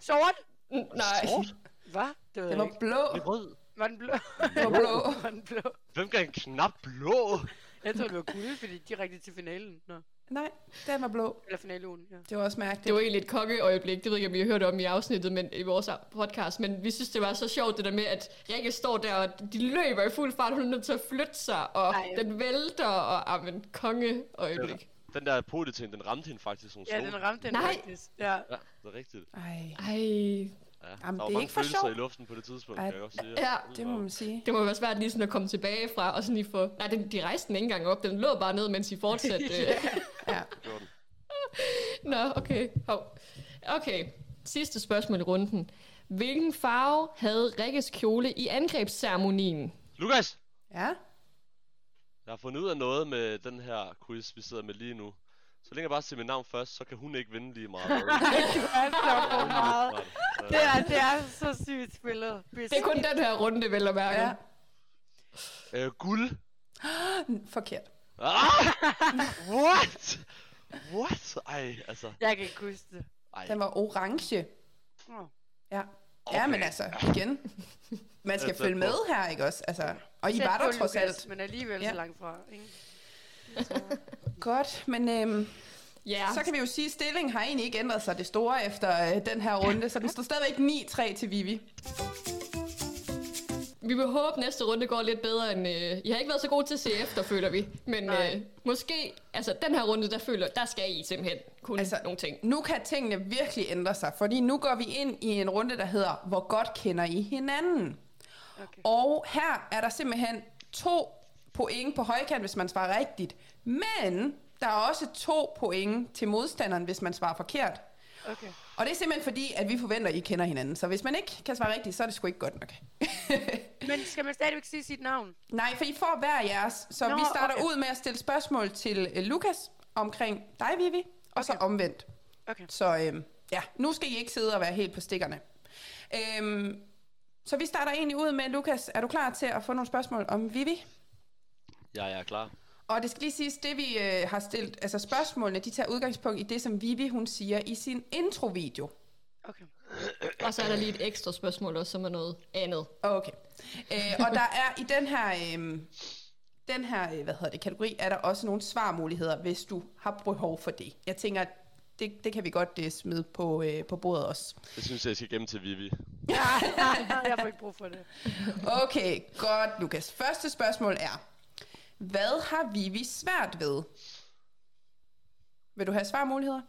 S4: Sort?
S1: N- Nej.
S5: Sort?
S4: Hvad? Det ved
S2: Den
S4: jeg
S2: var
S4: ikke.
S2: blå.
S5: Det er rød.
S4: Var den blå?
S2: Den var
S4: <laughs>
S2: blå.
S4: var den blå?
S5: Hvem kan en knap blå?
S4: Jeg tror, det var guld, fordi direkte til finalen. Nå.
S2: Nej, den var blå.
S4: Eller finalen, ja.
S2: Det var også mærkeligt.
S1: Det var egentlig et kokkeøjeblik, det ved jeg ikke, om I har hørt om i afsnittet men, i vores podcast, men vi synes, det var så sjovt, det der med, at Rikke står der, og de løber i fuld fart, hun er nødt til at flytte sig, og
S4: Ej.
S1: den vælter, og ah, men kongeøjeblik.
S5: Den der poteting, den ramte hende faktisk. Hun
S4: Ja,
S5: slog
S4: den ramte den
S1: Nej.
S4: faktisk. <laughs> Ja.
S5: Ja, det er rigtigt.
S2: Ej,
S1: Ej,
S5: Ja.
S2: Jamen,
S5: der var
S2: det er
S5: mange
S2: ikke for
S5: følelser
S2: sjov.
S5: i luften på det tidspunkt,
S2: Ej,
S5: kan jeg godt sige.
S1: ja,
S2: det må man sige.
S1: Det må være svært lige sådan at komme tilbage fra, og sådan lige få... Nej, den, de rejste den ikke engang op, den lå bare ned, mens I
S2: <laughs>
S1: fortsatte. øh.
S2: Ja.
S5: Gjorde den.
S1: <laughs> Nå, okay. Hov. Okay, sidste spørgsmål i runden. Hvilken farve havde Rikkes kjole i angrebsceremonien?
S5: Lukas!
S2: Ja,
S5: Jeg har fundet ud af noget med den her quiz, vi sidder med lige nu. Så længe jeg bare siger mit navn først, så kan hun ikke vinde lige meget.
S4: Han slår for meget.
S5: Ja.
S4: Det er, det er så sygt spillet. Hvis
S1: Det er kun den her runde, vel at mærke.
S2: ja.
S1: Ja.
S5: Øh, guld.
S2: Forkert.
S5: Ah! What? What? Ej, altså.
S4: Jeg kan ikke huske det.
S5: Ej.
S2: Den var orange.
S4: Nå.
S2: Ja. Ja, men altså, igen. Man skal
S5: Altså,
S2: følge
S5: på-
S2: med her, ikke også? Altså, og I
S4: Tæt
S2: var
S4: på,
S2: der trods
S4: Lukas,
S2: alt.
S4: Men alligevel
S2: Ja.
S4: så langt fra. Ikke?
S2: Godt, men øhm,
S1: ja.
S2: så kan vi jo sige, at stillingen har egentlig ikke ændret sig det store efter øh, den her runde, så den står stadigvæk 9-3 til Vivi.
S1: Vi vil håbe, at næste runde går lidt bedre end... Øh, I har ikke været så gode til at se efter, føler vi. Men
S4: Nej.
S1: øh, måske... Altså, den her runde, der føler... Der skal I simpelthen kunne altså,
S2: Altså,
S1: nogle ting.
S2: Nu kan tingene virkelig ændre sig, fordi nu går vi ind i en runde, der hedder, hvor godt kender I hinanden?
S4: Okay.
S2: Og her er der simpelthen to point på højkant, hvis man svarer rigtigt. Men der er også to point til modstanderen, hvis man svarer forkert.
S4: okay.
S2: Og det er simpelthen fordi, at vi forventer, at I kender hinanden. Så hvis man ikke kan svare rigtigt, så er det sgu ikke godt nok.
S4: Men skal man stadigvæk sige sit navn?
S2: <laughs> Nej, for I får hver jeres. Så
S4: Nå,
S2: Nå, vi starter
S4: okay.
S2: okay. ud med at stille spørgsmål til øh, Lukas omkring dig, Vivi, og okay. så omvendt.
S4: Okay.
S2: Så øh, ja, nu skal I ikke sidde og være helt på stikkerne. Øh, så vi starter egentlig ud med, Lukas, er du klar til at få nogle spørgsmål om Vivi?
S5: Ja, jeg er klar.
S2: Og det skal lige siges, det vi øh, har stillet, altså spørgsmålene, de tager udgangspunkt i det, som Vivi hun siger i sin introvideo.
S4: Okay.
S1: Og så er der lige et ekstra spørgsmål også, som er noget andet.
S2: Okay. Øh, og der er i den her, øh, den her øh, hvad hedder det, kategori, er der også nogle svarmuligheder, hvis du har behov for det. Jeg tænker, det, det kan vi godt øh, smide på, øh, på bordet også.
S5: Det synes jeg, jeg skal gemme til Vivi.
S4: jeg får ikke brug for det.
S2: Okay, godt, Lukas. Første spørgsmål er, hvad har Vivi svært ved? Vil du have svarmuligheder?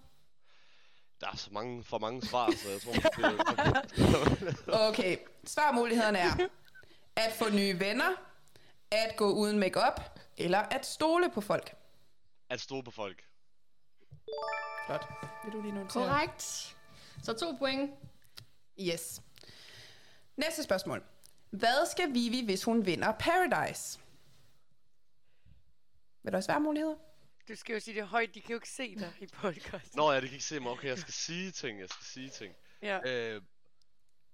S5: Der er så mange, for mange svar, så jeg tror, det
S2: Okay, svarmulighederne er at få nye venner, at gå uden makeup eller at stole på folk.
S5: at stå på folk.
S2: Flot. Vil du lige notere?
S1: Korrekt. Så to point.
S2: Yes. Næste spørgsmål. Hvad skal Vivi, hvis hun vinder Paradise? Vil der også være muligheder?
S4: Du skal jo sige det højt, de kan jo ikke se dig i podcast.
S5: Nå ja, det kan ikke se mig. Okay, jeg skal sige ting, jeg skal sige ting.
S4: Ja.
S5: Øh,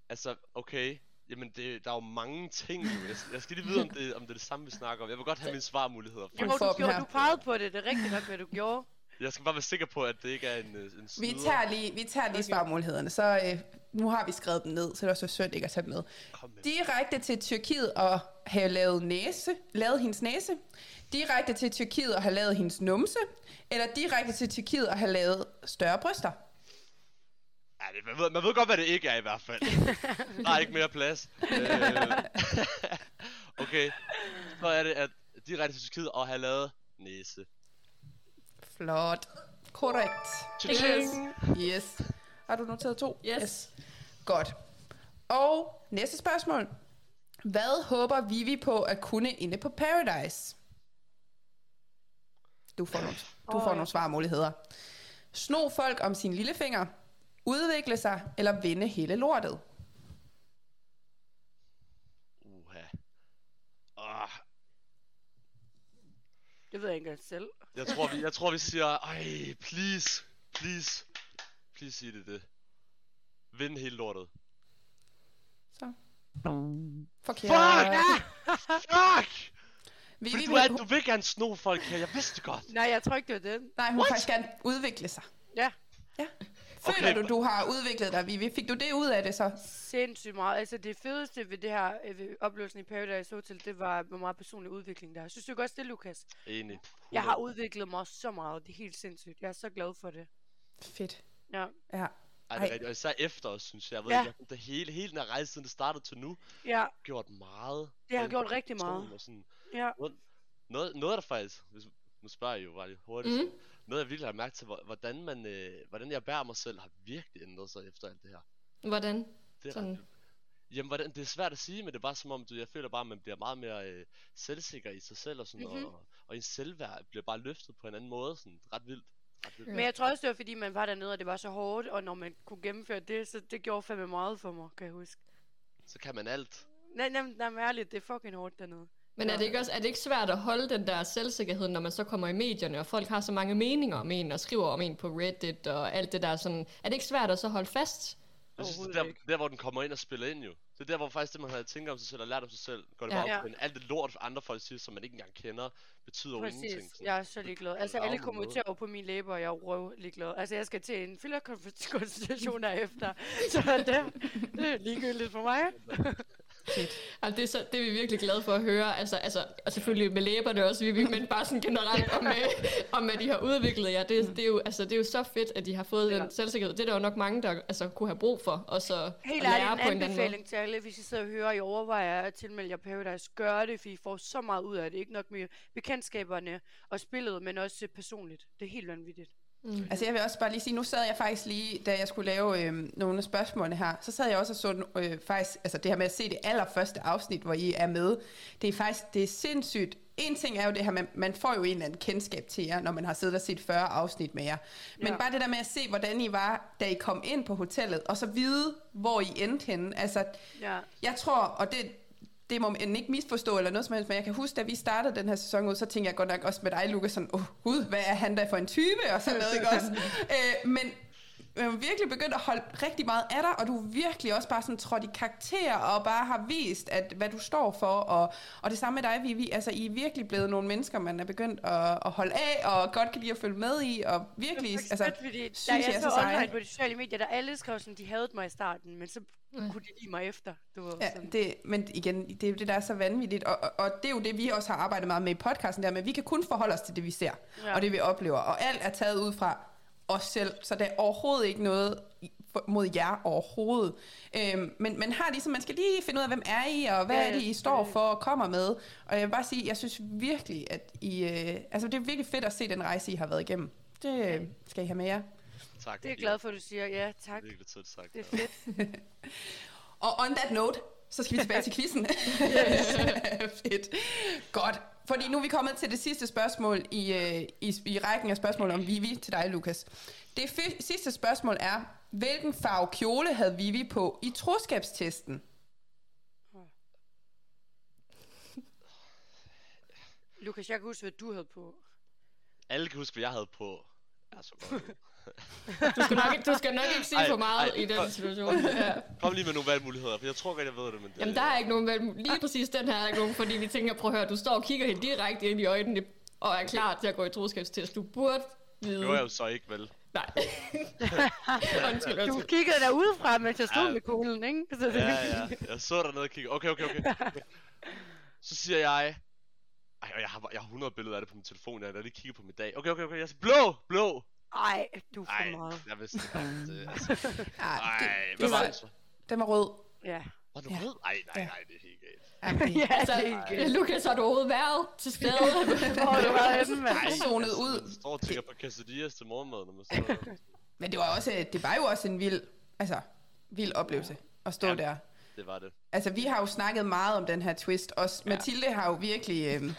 S5: altså, okay. Jamen, det, der er jo mange ting nu. Jeg, jeg skal lige vide, om det, om det er det samme, vi snakker om. Jeg vil godt have mine svarmuligheder.
S4: Jo,
S5: For
S2: får
S4: du,
S2: dem
S4: gjorde,
S2: her.
S4: du pegede på det, det er rigtigt nok, hvad du gjorde.
S5: jeg skal bare være sikker på, at det ikke er en, øh, en
S2: Vi
S5: snyder.
S2: tager lige, vi tager lige okay. svarmulighederne, så øh, nu har vi skrevet dem ned, så det er også synd ikke at tage dem med.
S5: Kom med.
S2: Direkte til Tyrkiet og have lavet, næse, lavet hendes næse. Direkte til Tyrkiet og have lavet hendes numse. Eller direkte til Tyrkiet og have lavet større bryster.
S5: Ja, det, man, ved, man ved godt, hvad det ikke er i hvert fald. Der er ikke mere plads. Øh, <laughs> okay. Så er det, at direkte til Tyrkiet og have lavet næse.
S2: Flot. Korrekt.
S1: Yes.
S2: Yes. Har du noteret to?
S1: Yes.
S2: Godt. Og næste spørgsmål. Hvad håber Vivi på at kunne inde på Paradise? Du får nogle, du får nogle svarmuligheder. Sno folk om sin lillefinger, udvikle sig eller vende hele lortet.
S5: Uha. Oh,
S4: Det ved jeg ikke engang selv.
S5: jeg, tror, vi, jeg tror, vi siger, ej, please, please, please sig det det. Vind hele lortet.
S2: Så. Forkert.
S5: Fuck! Fuck!
S2: Vivi,
S5: Fordi
S2: vil,
S5: du, er,
S2: hun,
S5: du vil gerne sno folk her, jeg vidste det godt.
S4: Nej, jeg tror ikke, det var den.
S2: nej, hun vil
S5: What?
S2: faktisk gerne udvikle sig.
S4: Ja,
S2: Ja. Føler
S5: Okay.
S2: du, du har udviklet dig, Vivi? Fik du det ud af det så?
S4: sindssygt meget. Altså det fedeste ved det her øh, ved oplevelsen i Paradise Hotel, det var, hvor meget personlig udvikling der er. Synes du ikke også det, Lukas?
S5: Enig.
S4: Jeg har udviklet mig så meget. Det er helt sindssygt. Jeg er så glad for det.
S2: Fedt.
S4: Ja,
S2: Ja.
S5: Ej, det er rigtigt. Og især efter os, synes jeg. Jeg ved
S4: Ja.
S5: ja. ikke, det hele, hele den her rejse, siden det startede til nu,
S4: ja
S5: gjort meget.
S4: Det har
S5: for
S4: gjort rigtig
S5: integrationen
S4: meget.
S5: Og sådan.
S4: Ja.
S5: Noget, noget, noget af det faktisk, hvis, nu spørger jeg jo bare lige hurtigt. Mm. Noget jeg virkelig har mærket til, hvor- hvordan, man, øh, hvordan jeg bærer mig selv, har virkelig ændret sig efter alt det her.
S1: Hvordan?
S5: Det er
S1: Sådan.
S5: ret vildt. Jamen, hvordan, det er svært at sige, men det er bare som om, du, jeg føler bare, at man bliver meget mere øh, selvsikker i sig selv og
S4: Mhm.
S5: sådan, mm-hmm. og, og ens selvværd bliver bare løftet på en anden måde, sådan ret vildt. Ret vildt.
S4: Men jeg tror også, det var fordi, man var dernede, og det var så hårdt, og når man kunne gennemføre det, så det gjorde fandme meget for mig, kan jeg huske.
S5: Så kan man alt.
S4: Nej, nej, nej, men ærligt, det er fucking hårdt dernede.
S1: Men er det, ikke også, er det ikke svært at holde den der selvsikkerhed, når man så kommer i medierne, og folk har så mange meninger om en, og skriver om en på Reddit og alt det der sådan. Er det ikke svært at så holde fast?
S5: Jeg synes, det er
S4: Overhovedet
S5: der,
S4: ikke.
S5: der, hvor den kommer ind og spiller ind jo. Det er der, hvor faktisk det, man havde tænkt om sig selv og lært om sig selv, går det
S1: Ja.
S5: bare
S4: Ja.
S5: op. Men alt det lort, andre folk siger, som man ikke engang kender, betyder jo ingenting.
S4: Præcis,
S5: sådan.
S4: jeg er så ligeglad. Altså, alle
S5: larmer
S4: kommentarer på mine læber, og jeg er røv ligeglad. Altså, jeg skal til en
S1: <laughs>
S4: fylderkonstitution derefter, så det, det er ligegyldigt for mig.
S1: Altså, det, er så, det er vi virkelig glade for at høre. Altså, altså, og selvfølgelig med læberne også, vi, men bare sådan generelt om, øh, <laughs> om at de har udviklet jer. Det, det, er jo, altså, det er jo så fedt, at de har fået den selvsikkerhed. Det er der jo nok mange, der altså, kunne have brug for, og så
S4: Helt
S1: at lære
S4: ærligt,
S1: på
S4: en
S1: en anden måde.
S4: anbefaling til alle, hvis I sidder og hører, og I overvejer at tilmelde jer Paradise, gør det, for I får så meget ud af det. Ikke nok med bekendtskaberne og spillet, men også øh, personligt. Det er helt vanvittigt.
S2: Altså jeg vil også bare lige sige, nu sad jeg faktisk lige, da jeg skulle lave øh, nogle af spørgsmålene her, så sad jeg også og så øh, faktisk, altså det her med at se det allerførste afsnit, hvor I er med, det er faktisk, det er sindssygt. En ting er jo det her, man, man får jo en eller anden kendskab til jer, når man har siddet og set 40 afsnit med jer. Men
S4: Ja.
S2: ja. bare det der med at se, hvordan I var, da I kom ind på hotellet, og så vide, hvor I endte henne. Altså,
S4: Ja.
S2: jeg tror, og det, det må man ikke misforstå eller noget som helst, men jeg kan huske, da vi startede den her sæson ud, så tænkte jeg godt nok også med dig, Lukas, sådan, åh oh, gud, hvad er han der for en type, og sådan noget, ikke
S4: <laughs>
S2: også? Øh, men jeg er virkelig begyndt at holde rigtig meget af dig, og du er virkelig også bare sådan trådt i karakter, og bare har vist, at, hvad du står for, og, og det samme med dig, Vivi, altså I er virkelig blevet nogle mennesker, man er begyndt at, at holde af, og godt kan lide at følge med i, og virkelig,
S4: Det
S2: altså,
S4: var fedt, fordi
S2: synes
S4: da
S2: jeg,
S4: jeg,
S2: er
S4: så
S2: så
S4: online
S2: sej.
S4: på de sociale medier, der alle skrev sådan, de havde mig i starten, men så kunne de lide mig efter. Du ved,
S2: Ja,
S4: sådan.
S2: det, men igen, det er jo det, der er så vanvittigt, og, og, og det er jo det, vi også har arbejdet meget med i podcasten der, men vi kan kun forholde os til det, vi ser,
S4: Ja.
S2: ja. og det, vi oplever, og alt er taget ud fra os selv, så der er overhovedet ikke noget i- for- mod jer overhovedet. Øhm, men man har ligesom, man skal lige finde ud af, hvem er I, og hvad
S4: Ja,
S2: ja, er det,
S4: ja,
S2: I står
S4: selvfølgelig.
S2: for og kommer med, og jeg vil bare sige, jeg synes virkelig, at I, øh, altså det er virkelig fedt at se den rejse, I har været igennem. Det øh, skal I have med jer.
S5: Tak.
S4: det er jeg glad for, at du siger. Ja, tak.
S5: Virkelig tæt sagt.
S4: Det
S5: ja.
S4: er fedt.
S2: Og on that note, så skal vi tilbage
S4: <laughs>
S2: til quizzen. <laughs> Fedt. Godt. Fordi nu er vi kommet til det sidste spørgsmål i, øh, i, i rækken af spørgsmål om Vivi til dig, Lukas. Det fi- sidste spørgsmål er, hvilken farve kjole havde Vivi på i troskabstesten?
S4: Lukas, jeg kan huske, hvad du havde på.
S5: Alle kan huske, hvad jeg havde på. Jeg er så godt.
S1: Du skal nok, ikke- du skal nok ikke sige
S5: Ej,
S1: for meget
S5: ej,
S1: i den
S5: for-
S1: situation. Ja.
S5: Kom lige med nogle valgmuligheder, for jeg tror godt, jeg ved det, men det...
S1: Jamen, der er ikke nogen valg. Lige præcis den her er der ikke nogen, fordi vi tænker, prøv at høre, du står og kigger helt direkte ind i øjnene, og er klar til at gå i troskabstest. Du burde vide...
S5: Det var jeg altså. jo så ikke, vel?
S1: Nej.
S4: <laughs>
S1: undskyld,
S4: Du
S1: undskyld.
S4: kiggede derudefra, mens jeg stod
S5: Ja.
S4: med kuglen, ikke? Så det,
S5: Ja, ja. Jeg så dernede og kiggede. Okay, okay, okay. Så siger jeg... Ej, og jeg har, jeg har 100 billeder af det på min telefon, jeg har lige kigget på min dag. Okay, okay, okay, jeg siger, blå, blå!
S4: Ej, du er
S5: Ej,
S4: for meget.
S5: jeg vidste det godt. Det, altså,
S2: Ah, Mm. det,
S5: ej, hvad
S2: det
S5: var
S2: var-
S5: det så?
S2: den var rød.
S4: Ja.
S5: Var du rød? Ej, nej, nej, det er helt galt.
S4: <laughs> Ja,
S1: Altså,
S4: det er ikke.
S1: Lukas, har du overhovedet været til stede?
S4: Hvor har du var henne, mand.
S5: Ej,
S2: zonet
S5: altså,
S2: ud.
S5: Man står og tænker på quesadillas til morgenmad, når man står der.
S2: <laughs> Men det var, også, det var jo også en vild, altså, vild oplevelse at stå
S5: Ja.
S2: ja. der.
S5: Det var det.
S2: Altså, vi har jo snakket meget om den her twist. Også ja. Mathilde har jo virkelig... Øh,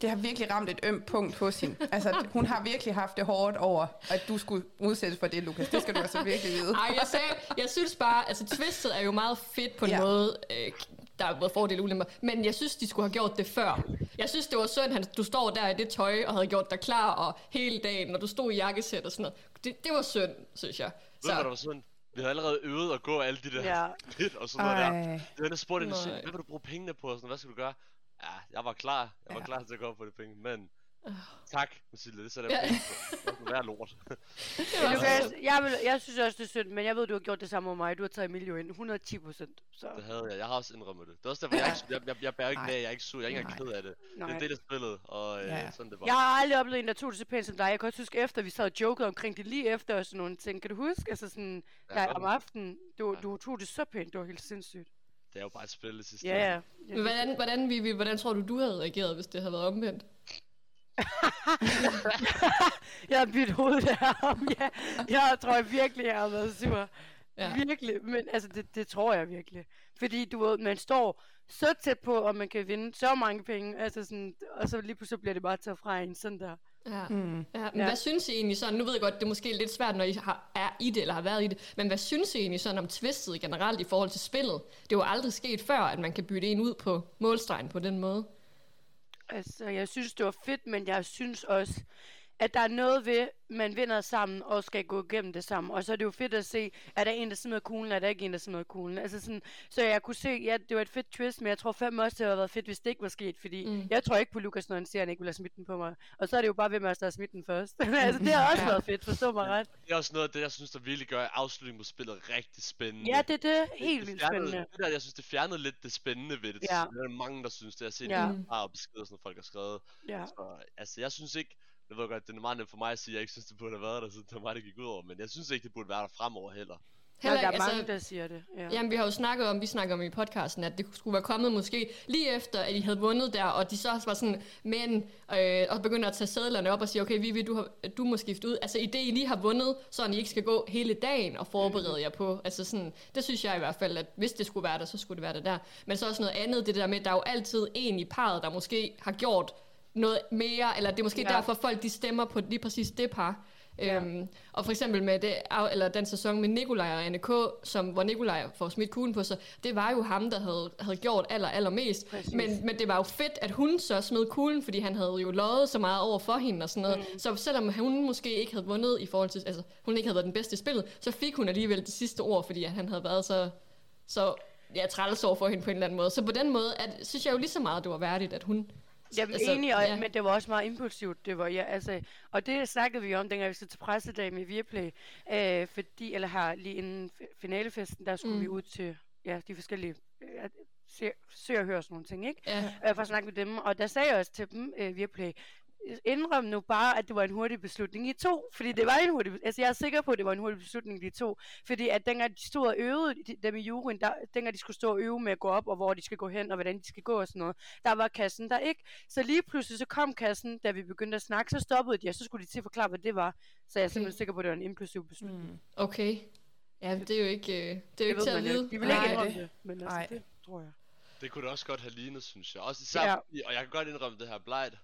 S2: det har virkelig ramt et ømt punkt hos hende. Altså, hun har virkelig haft det hårdt over, at du skulle udsættes for det, Lukas. Det skal du altså virkelig vide.
S1: Ej, jeg, sagde, jeg synes bare, altså twistet er jo meget fedt på en
S2: Ja.
S1: måde, øh, der er både fordele og ulemper, men jeg synes, de skulle have gjort det før. Jeg synes, det var synd, at du står der i det tøj, og havde gjort dig klar, og hele dagen, når du stod i jakkesæt og sådan noget. Det, det var synd, synes jeg.
S5: Ved du, hvad der var sådan? Vi havde allerede øvet at gå alle de der
S4: Ja.
S5: ja. lidt og sådan noget der.
S2: Ej.
S5: Det var der spurgte hende,
S1: Nej.
S5: sådan, hvad vil du bruge pengene på? Og sådan, hvad skal du gøre? Ja, jeg var klar. Jeg var
S2: Ja.
S5: ja. klar til at gå op på det penge, men... Tak, Mathilde, det sætter
S1: Ja.
S5: jeg pris på. Det var lort. <laughs>
S1: Det var
S4: Lukas,
S1: synd.
S4: jeg, vil, jeg synes også, det er synd, men jeg ved, du har gjort det samme med mig. Du har taget Emilio ind 110 procent. Så
S5: Det havde jeg. Jeg har også indrømmet det. Det er også derfor, jeg, er ikke, jeg, jeg, jeg bærer ikke
S2: Nej.
S5: nag, jeg er ikke sur, jeg er ikke engang
S2: Nej.
S5: ked af det. Det er
S4: Nej.
S5: en del af spillet, og øh,
S2: Ja, ja.
S5: ja. sådan er det var.
S4: Jeg har aldrig oplevet en, der tog det så pænt som dig. Jeg kan også huske efter, vi sad og jokede omkring det lige efter og sådan nogle ting. Kan du huske? Altså sådan,
S5: Ja,
S4: ja,
S5: godt.
S4: om aftenen, du,
S5: Ja.
S4: du tog det så pænt. Det var helt sindssygt.
S5: Det er jo bare et spil, det sidste.
S4: Ja, ja.
S1: Men Hvordan, hvordan, Vivi, hvordan tror du, du havde reageret, hvis det havde været omvendt?
S4: Jeg har byttet hovedet derom. Ja, jeg tror jeg virkelig, jeg har været sur.
S1: Ja.
S4: Ja. Virkelig, men altså det, det tror jeg virkelig. Fordi du ved, man står så tæt på, og man kan vinde så mange penge, altså sådan, og så lige pludselig bliver det bare taget fra en sådan der.
S1: Ja. Mm. ja. Men
S4: Ja.
S1: ja. hvad synes I egentlig sådan, nu ved jeg godt, det er måske lidt svært, når I har, er i det, eller har været i det, men hvad synes I egentlig sådan om tvistet generelt i forhold til spillet? Det er jo aldrig sket før, at man kan bytte en ud på målstregen på den måde.
S4: Altså, jeg synes, det var fedt, men jeg synes også, at der er noget ved, man vinder sammen og skal gå igennem det sammen. Og så er det jo fedt at se, er der en, der smider kuglen, er der ikke en, der smider kuglen. Altså sådan, så jeg kunne se, ja, det var et fedt twist, men jeg tror fandme også, det havde været fedt, hvis det ikke var sket. Fordi mm. jeg tror ikke på Lukas, når han siger, at han ikke ville have smidt den på mig. Og så er det jo bare, hvem af os, der har smidt den først. <laughs> altså, det har også
S1: Ja.
S4: været fedt, forstå mig ret.
S5: Det er også noget af det, jeg synes, der virkelig gør afslutningen på spillet rigtig spændende.
S4: Ja, det er det. Helt
S5: det
S4: vildt
S5: fjernede-
S4: spændende.
S5: Det der, jeg synes, det fjernede lidt det spændende ved det.
S4: Ja.
S5: Ja. Der er mange, der synes det. Jeg har set
S4: Ja.
S5: ja. og beskeder, sådan, noget, folk har skrevet.
S4: Ja.
S5: Så, altså, jeg synes ikke, det ved godt, det er meget nemt for mig at sige, at jeg ikke synes, det burde have været der, så det var mig, det gik ud over. Men jeg synes ikke, det burde være der fremover heller.
S4: Nå, der
S1: ikke, altså,
S4: er mange, der siger det. Ja.
S1: Jamen, vi har jo snakket om, vi snakker om i podcasten, at det skulle være kommet måske lige efter, at I havde vundet der, og de så var sådan, men, øh, og begynder at tage sædlerne op og sige, okay, Vivi, du, har, du må skifte ud. Altså, i det, I lige har vundet, så I ikke skal gå hele dagen og
S4: Mhm.
S1: forberede jer på. Altså, sådan, det synes jeg i hvert fald, at hvis det skulle være der, så skulle det være der der. Men så også noget andet, det der med, at der er jo altid en i parret, der måske har gjort noget mere, eller det er måske
S4: Ja.
S1: ja. derfor folk, de stemmer på lige præcis det par. Ja. Øhm, og for eksempel med det, af- eller den sæson med Nikolaj og Anne K., som, hvor Nikolaj får smidt kuglen på sig, det var jo ham, der havde, havde gjort aller, allermest.
S4: Præcis.
S1: Men, men det var jo fedt, at hun så smed kuglen, fordi han havde jo løjet så meget over for hende og sådan noget. Mm. Så selvom hun måske ikke havde vundet i forhold til, altså hun ikke havde været den bedste i spillet, så fik hun alligevel det sidste ord, fordi at han havde været så, så ja, træls over for hende på en eller anden måde. Så på den måde at, synes jeg jo lige så meget, det var værdigt, at hun...
S4: Jamen altså,
S1: altså,
S4: enig, og, ja.
S1: ja.
S4: men det var også meget impulsivt. Det var, ja, altså, og det snakkede vi om, dengang vi stod til pressedag med Viaplay. Øh, fordi, eller her lige inden fi- finalefesten, der skulle mm. vi ud til ja, de forskellige øh, se, se og høre og sådan nogle ting, ikke?
S1: Ja,
S4: øh, for at snakke med dem. Og der sagde jeg også til dem øh, via Play, indrøm nu bare, at det var en hurtig beslutning i to. Fordi det var en hurtig bes- Altså, jeg er sikker på, at det var en hurtig beslutning de to. Fordi at dengang de stod og øvede, de- dem i juryen, der, dengang de skulle stå og øve med at gå op, og hvor de skal gå hen, og hvordan de skal gå og sådan noget, der var kassen der ikke. Så lige pludselig så kom kassen, da vi begyndte at snakke, så stoppede de, og så skulle de til at forklare, hvad det var. Så jeg er simpelthen sikker på, at det var en impulsiv beslutning. Mm,
S1: okay. Ja, det er jo ikke, øh, det er jo ikke til at vide. Ah,
S4: De vil ikke
S1: Nej.
S4: indrømme det, men altså,
S2: Nej.
S4: det tror jeg.
S5: Det kunne det også godt have lignet, synes jeg. Også især,
S4: Ja.
S5: ja. fordi, og jeg kan godt indrømme det her blejt.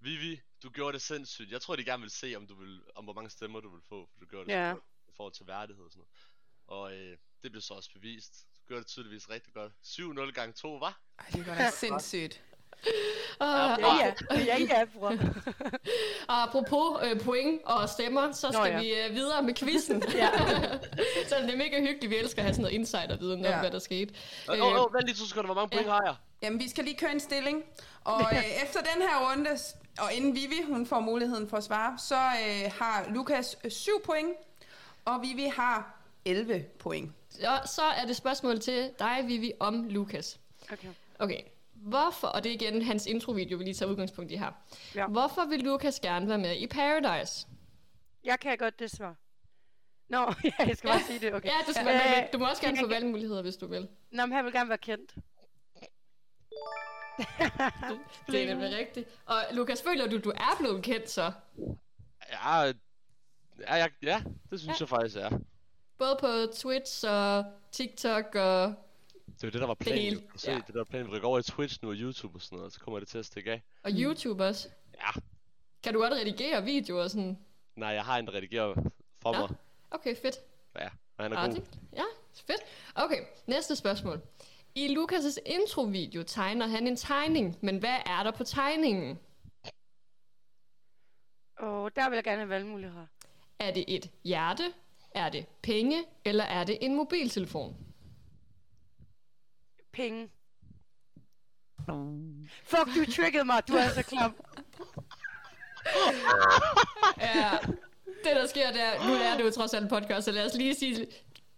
S5: Vivi, du gjorde det sindssygt. Jeg tror, de gerne vil se, om, du vil, om hvor mange stemmer du vil få, for du gjorde det
S4: Ja.
S5: så godt i forhold til værdighed og sådan noget. Og øh, det blev så også bevist. Du gjorde det tydeligvis rigtig godt. 7-0 gange 2, var?
S2: Ej, det er godt nok sindssygt.
S1: Og,
S4: Ja, ja, ja, ja, bror.
S1: Og apropos øh, point og stemmer, så skal Nå,
S4: ja.
S1: ja. vi øh, videre med quizzen.
S4: Ja.
S1: <laughs> så det er mega hyggeligt, vi elsker at have sådan noget insider-viden om,
S2: Ja.
S1: ja. hvad der skete.
S5: Åh, øh, oh, vent lige to sekunder. Hvor mange point har jeg?
S2: Jamen, vi skal lige køre en stilling. Og øh, efter den her runde, s- og inden Vivi hun får muligheden for at svare, så øh, har Lukas 7 point, og Vivi har 11 point.
S1: og Øh, så er det spørgsmål til dig, Vivi, om Lukas.
S4: Okay.
S1: Okay, hvorfor, og det er igen hans introvideo, vi lige tager udgangspunkt i her.
S4: Ja.
S1: Ja. Hvorfor vil Lukas gerne være med i Paradise?
S4: Jeg kan godt det svar. Nå, <laughs> ja, jeg skal bare sige det, okay.
S1: Ja, du, skal,
S4: Øh,
S1: øh, du må også gerne
S4: jeg
S1: få
S4: kan-
S1: valgmuligheder, hvis du vil.
S4: Nå, men han vil gerne være kendt.
S1: Det er nemlig rigtigt. Og Lukas, føler du, du er blevet kendt så?
S5: Ja, øh, ja, jeg, ja det synes ja. jeg faktisk er.
S1: Både på Twitch og TikTok og...
S5: Det er jo det, der var planen.
S1: hele,
S5: Det, se,
S1: ja.
S5: ja. det der var planen. Vi rykker over i Twitch nu og YouTube og sådan noget, og så kommer det til at stikke af.
S1: Og YouTube også.
S5: Ja,
S1: Kan du godt redigere videoer og sådan?
S5: nej, jeg har en redigerer for
S1: Ja.
S5: mig.
S1: Okay, fedt.
S5: Ja, og han er
S1: Ja,
S5: god.
S1: det, ja, fedt. Okay, næste spørgsmål. I Lukas' introvideo tegner han en tegning, men hvad er der på tegningen?
S4: Og der vil jeg gerne have valgmuligheder.
S1: Er det et hjerte? Er det penge? Eller er det en mobiltelefon?
S4: Penge. Fuck, du triggede mig, du er så klam.
S1: <laughs> Ja, det der sker der, nu er det jo trods alt en podcast, så lad os lige sige,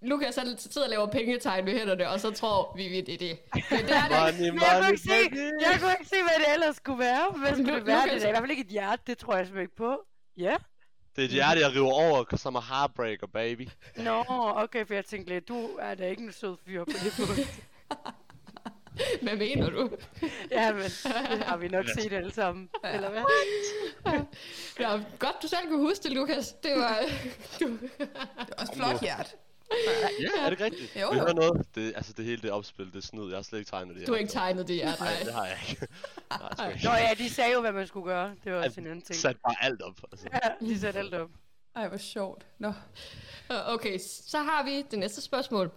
S1: Lukas han sidder og laver pengetegn med hænderne, og så tror vi, vi det er det. Men det er det ikke.
S5: Money,
S4: Men jeg kunne
S5: money,
S4: ikke se, jeg kunne ikke se, hvad det ellers skulle være. Hvad skulle det
S1: Lu-
S4: være?
S1: Lukas-
S4: Det er i hvert fald ikke et hjerte, det tror jeg simpelthen ikke på. Ja?
S5: Det er et hjerte, jeg river over, som er heartbreaker, baby.
S4: Nå, okay, for jeg tænkte lidt, du er da ikke en sød fyr på det punkt.
S1: <laughs> Hvad mener du?
S4: Ja, men det har vi nok set alle sammen, eller hvad?
S1: Nå, godt, du selv kunne huske det, Lukas. Det var... Du...
S2: Det er også flot hjert.
S5: Ja, yeah, er det ikke rigtigt?
S2: Jo,
S5: Vil I
S2: jo.
S5: høre noget? Det, altså, det hele det er opspil, det er snyd. Jeg har slet ikke tegnet det.
S1: Du har ikke tegnet det hjerte,
S5: Nej,
S1: nej.
S5: det har jeg ikke. <laughs> Nej, det har jeg sgu
S4: Nå
S5: ikke.
S4: ja, de sagde jo, hvad man skulle gøre. Det var også en anden ting.
S5: Jeg satte bare alt op. Altså.
S4: Ja, de satte alt op.
S2: Ej, hvor sjovt. Nå.
S1: Øh, Okay, så har vi det næste spørgsmål.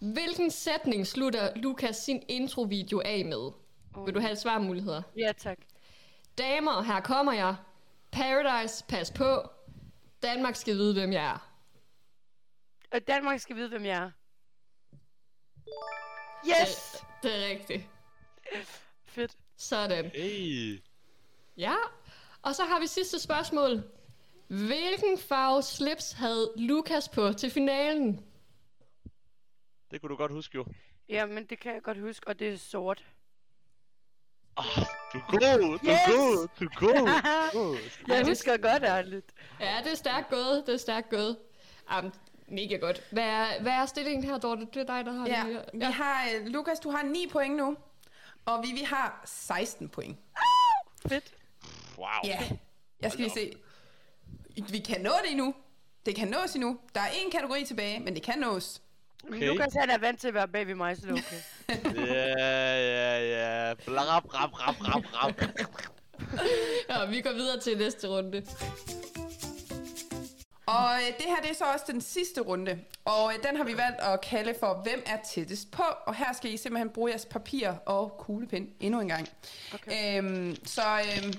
S1: Hvilken sætning slutter Lukas sin introvideo af med? Vil du have svarmuligheder?
S4: Ja, tak.
S1: Damer, her kommer jeg. Paradise, pas på. Danmark skal vide, hvem jeg er.
S4: Og Danmark skal vide, hvem jeg er. Yes!
S1: Det er rigtigt.
S4: Fedt.
S1: Sådan.
S5: Hey.
S1: Ja. Og så har vi sidste spørgsmål. Hvilken farve slips havde Lukas på til finalen?
S5: Det kunne du godt huske, jo.
S4: Ja, men det kan jeg godt huske, og det er sort.
S5: Oh, du er god, du er
S4: Yes!
S5: god, du er god. du er god.
S4: Ja, det skal godt ærligt.
S1: Ja, det er stærkt gået. Det er stærkt gået. Jamen, mega godt. Hvad er, hvad er stillingen her, Dorte? Det er dig, der har
S2: Ja,
S1: det. her.
S2: vi har, øh, Lukas, du har 9 point nu, og Vivi har 16 point.
S4: Fedt.
S5: Wow.
S2: Ja, jeg skal lige se. Vi kan nå det endnu. Det kan nås endnu. Der er en kategori tilbage, men det kan nås.
S4: Okay. Lukas, han er vant til at være bag ved mig, så det er okay.
S5: Ja, ja, ja. Blap, rap, rap, rap, rap.
S1: Ja, vi går videre til næste runde.
S2: Og øh, det her det er så også den sidste runde, og øh, den har vi valgt at kalde for, hvem er tættest på? Og her skal I simpelthen bruge jeres papir og kuglepen endnu en gang. Okay. Øhm, så øhm,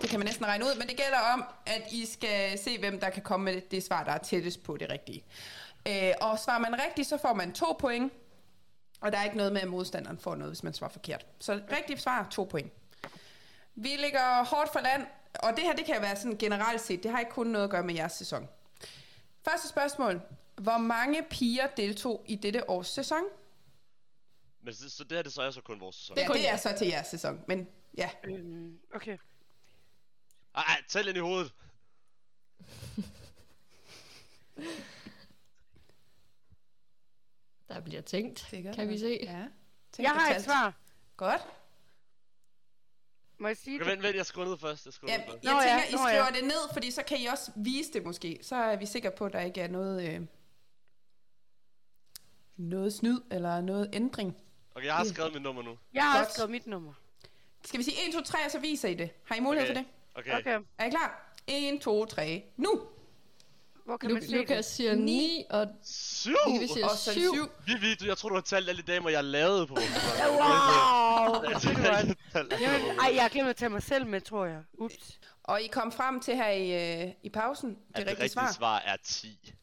S2: det kan man næsten regne ud, men det gælder om, at I skal se, hvem der kan komme med det svar, der er tættest på det rigtige. Øh, og svarer man rigtigt, så får man to point, og der er ikke noget med, at modstanderen får noget, hvis man svarer forkert. Så rigtigt svar, to point. Vi ligger hårdt for land, og det her det kan være sådan generelt set. Det har ikke kun noget at gøre med jeres sæson. Første spørgsmål. Hvor mange piger deltog i dette års sæson?
S5: Men så, så det her, det så er så kun vores sæson.
S1: Det
S2: Det
S5: Det...
S1: er kun
S2: ja, det er
S1: jer.
S2: så til jeres sæson, men ja.
S4: Øhm, okay.
S5: Ej, tæl ind i hovedet.
S1: Der bliver tænkt, kan vi se. Ja.
S2: Ja. Tænk
S4: Jeg
S2: på
S4: har et
S2: talt.
S4: svar.
S2: Godt.
S4: Må jeg sige
S5: Okay,
S4: det?
S5: vent, vent, jeg skruer ned først. Jeg skruer
S2: Ja,
S5: ned
S2: jeg
S5: først.
S4: Nå ja,
S2: tænker, I
S4: nå ja.
S2: skriver det ned, fordi så kan I også vise det måske. Så er vi sikre på, at der ikke er noget, øh, noget snyd eller noget ændring.
S5: Okay, jeg har skrevet mit nummer nu.
S4: Jeg har
S2: Godt.
S4: også skrevet mit nummer.
S2: Skal vi sige 1, 2, 3, og så viser I det? Har I mulighed
S5: Okay.
S2: for det?
S5: Okay. okay.
S4: Okay.
S2: Er I klar? 1, 2, 3, nu!
S4: Hvor kan man
S1: Lu-
S4: se
S1: Lukas
S4: det?
S1: siger 9, og
S5: Syv!
S1: Vivi siger
S2: Og så
S1: 7.
S2: 7.
S5: Vivi, du, jeg tror, du har talt alle de damer, jeg lavede
S2: <laughs>
S5: på.
S4: Wow!
S5: Jeg
S4: Ved du
S5: tænker, <laughs>
S4: hvad?
S5: jeg talt alle
S4: Jamen,
S5: damer.
S4: ej, jeg har glemt at tage mig selv med, tror jeg. Ups.
S2: Og I kom frem til her i, øh, i pausen det
S5: At
S2: rigtige, rigtige svar. svar.
S5: svar er 10.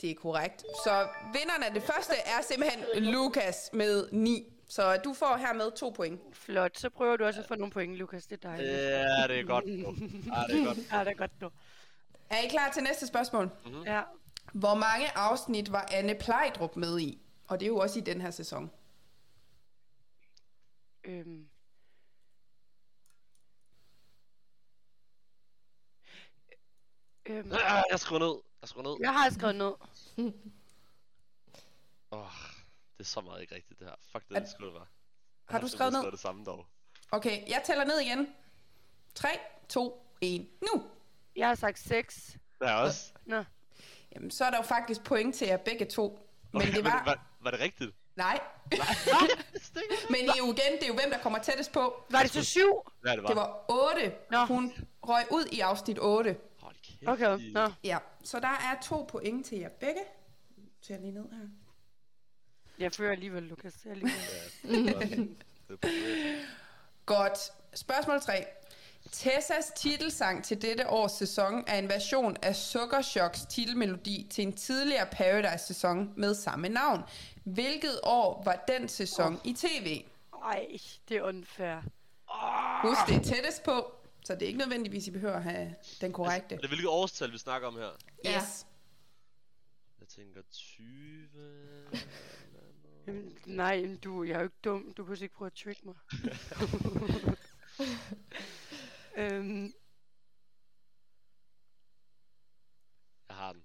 S2: Det er korrekt. Så vinderen af det første er simpelthen Lukas med 9. Så du får hermed to point.
S4: Flot. Så prøver du også at få nogle point, Lukas. Det er dejligt. Øh.
S5: Ja, det er godt.
S2: Mm.
S5: nu. Ja, det er godt.
S4: Ja, det er godt nu.
S2: Er I klar til næste spørgsmål?
S4: Ja.
S2: Hvor mange afsnit var Anne Plejdrup med i? Og det er jo også i den her sæson.
S4: Øhm. Øhm.
S5: Ah, Jeg skruer ned. Jeg skruer ned.
S4: Jeg har skrevet ned.
S5: Åh, det er så meget ikke rigtigt, det her. Fuck det, det skulle det være.
S2: Har du skrevet ned?
S5: Det samme dog.
S2: Okay, jeg tæller ned igen. 3, 2, 1. Nu!
S4: Jeg har sagt 6.
S5: Det er også.
S4: Nå.
S2: Jamen, så er der jo faktisk point til jer begge to. Men
S5: Okay,
S2: det var...
S5: var, var det
S2: <laughs>
S5: rigtigt?
S2: Nej. Men I er jo igen, det er jo hvem, der kommer tættest på.
S4: Var det så 7?
S5: Ja, det var.
S2: Det var 8.
S4: Nå.
S2: Hun røg ud i afsnit 8.
S5: Hold kæft.
S4: Okay.
S5: I-
S2: <laughs>
S4: Nå.
S2: Ja, så der er to point til jer begge. Så jeg lige ned her.
S4: Jeg fører alligevel, Lukas. Jeg er alligevel.
S5: Det var-
S2: Godt. Spørgsmål 3. Tessas titelsang til dette års sæson er en version af Sukkershocks titelmelodi til en tidligere Paradise-sæson med samme navn. Hvilket år var den sæson i tv?
S4: Ej, det er unfair.
S2: Husk, det er tættest på, så det er ikke nødvendigvis, I behøver at have den korrekte.
S5: Er det hvilket årstal, vi snakker om her?
S1: Ja.
S2: Yes.
S5: Jeg tænker 20...
S4: <laughs> Jamen, nej, men du, jeg er jo ikke dum. Du kunne ikke prøve at trick mig. øhm,
S5: Jeg har den.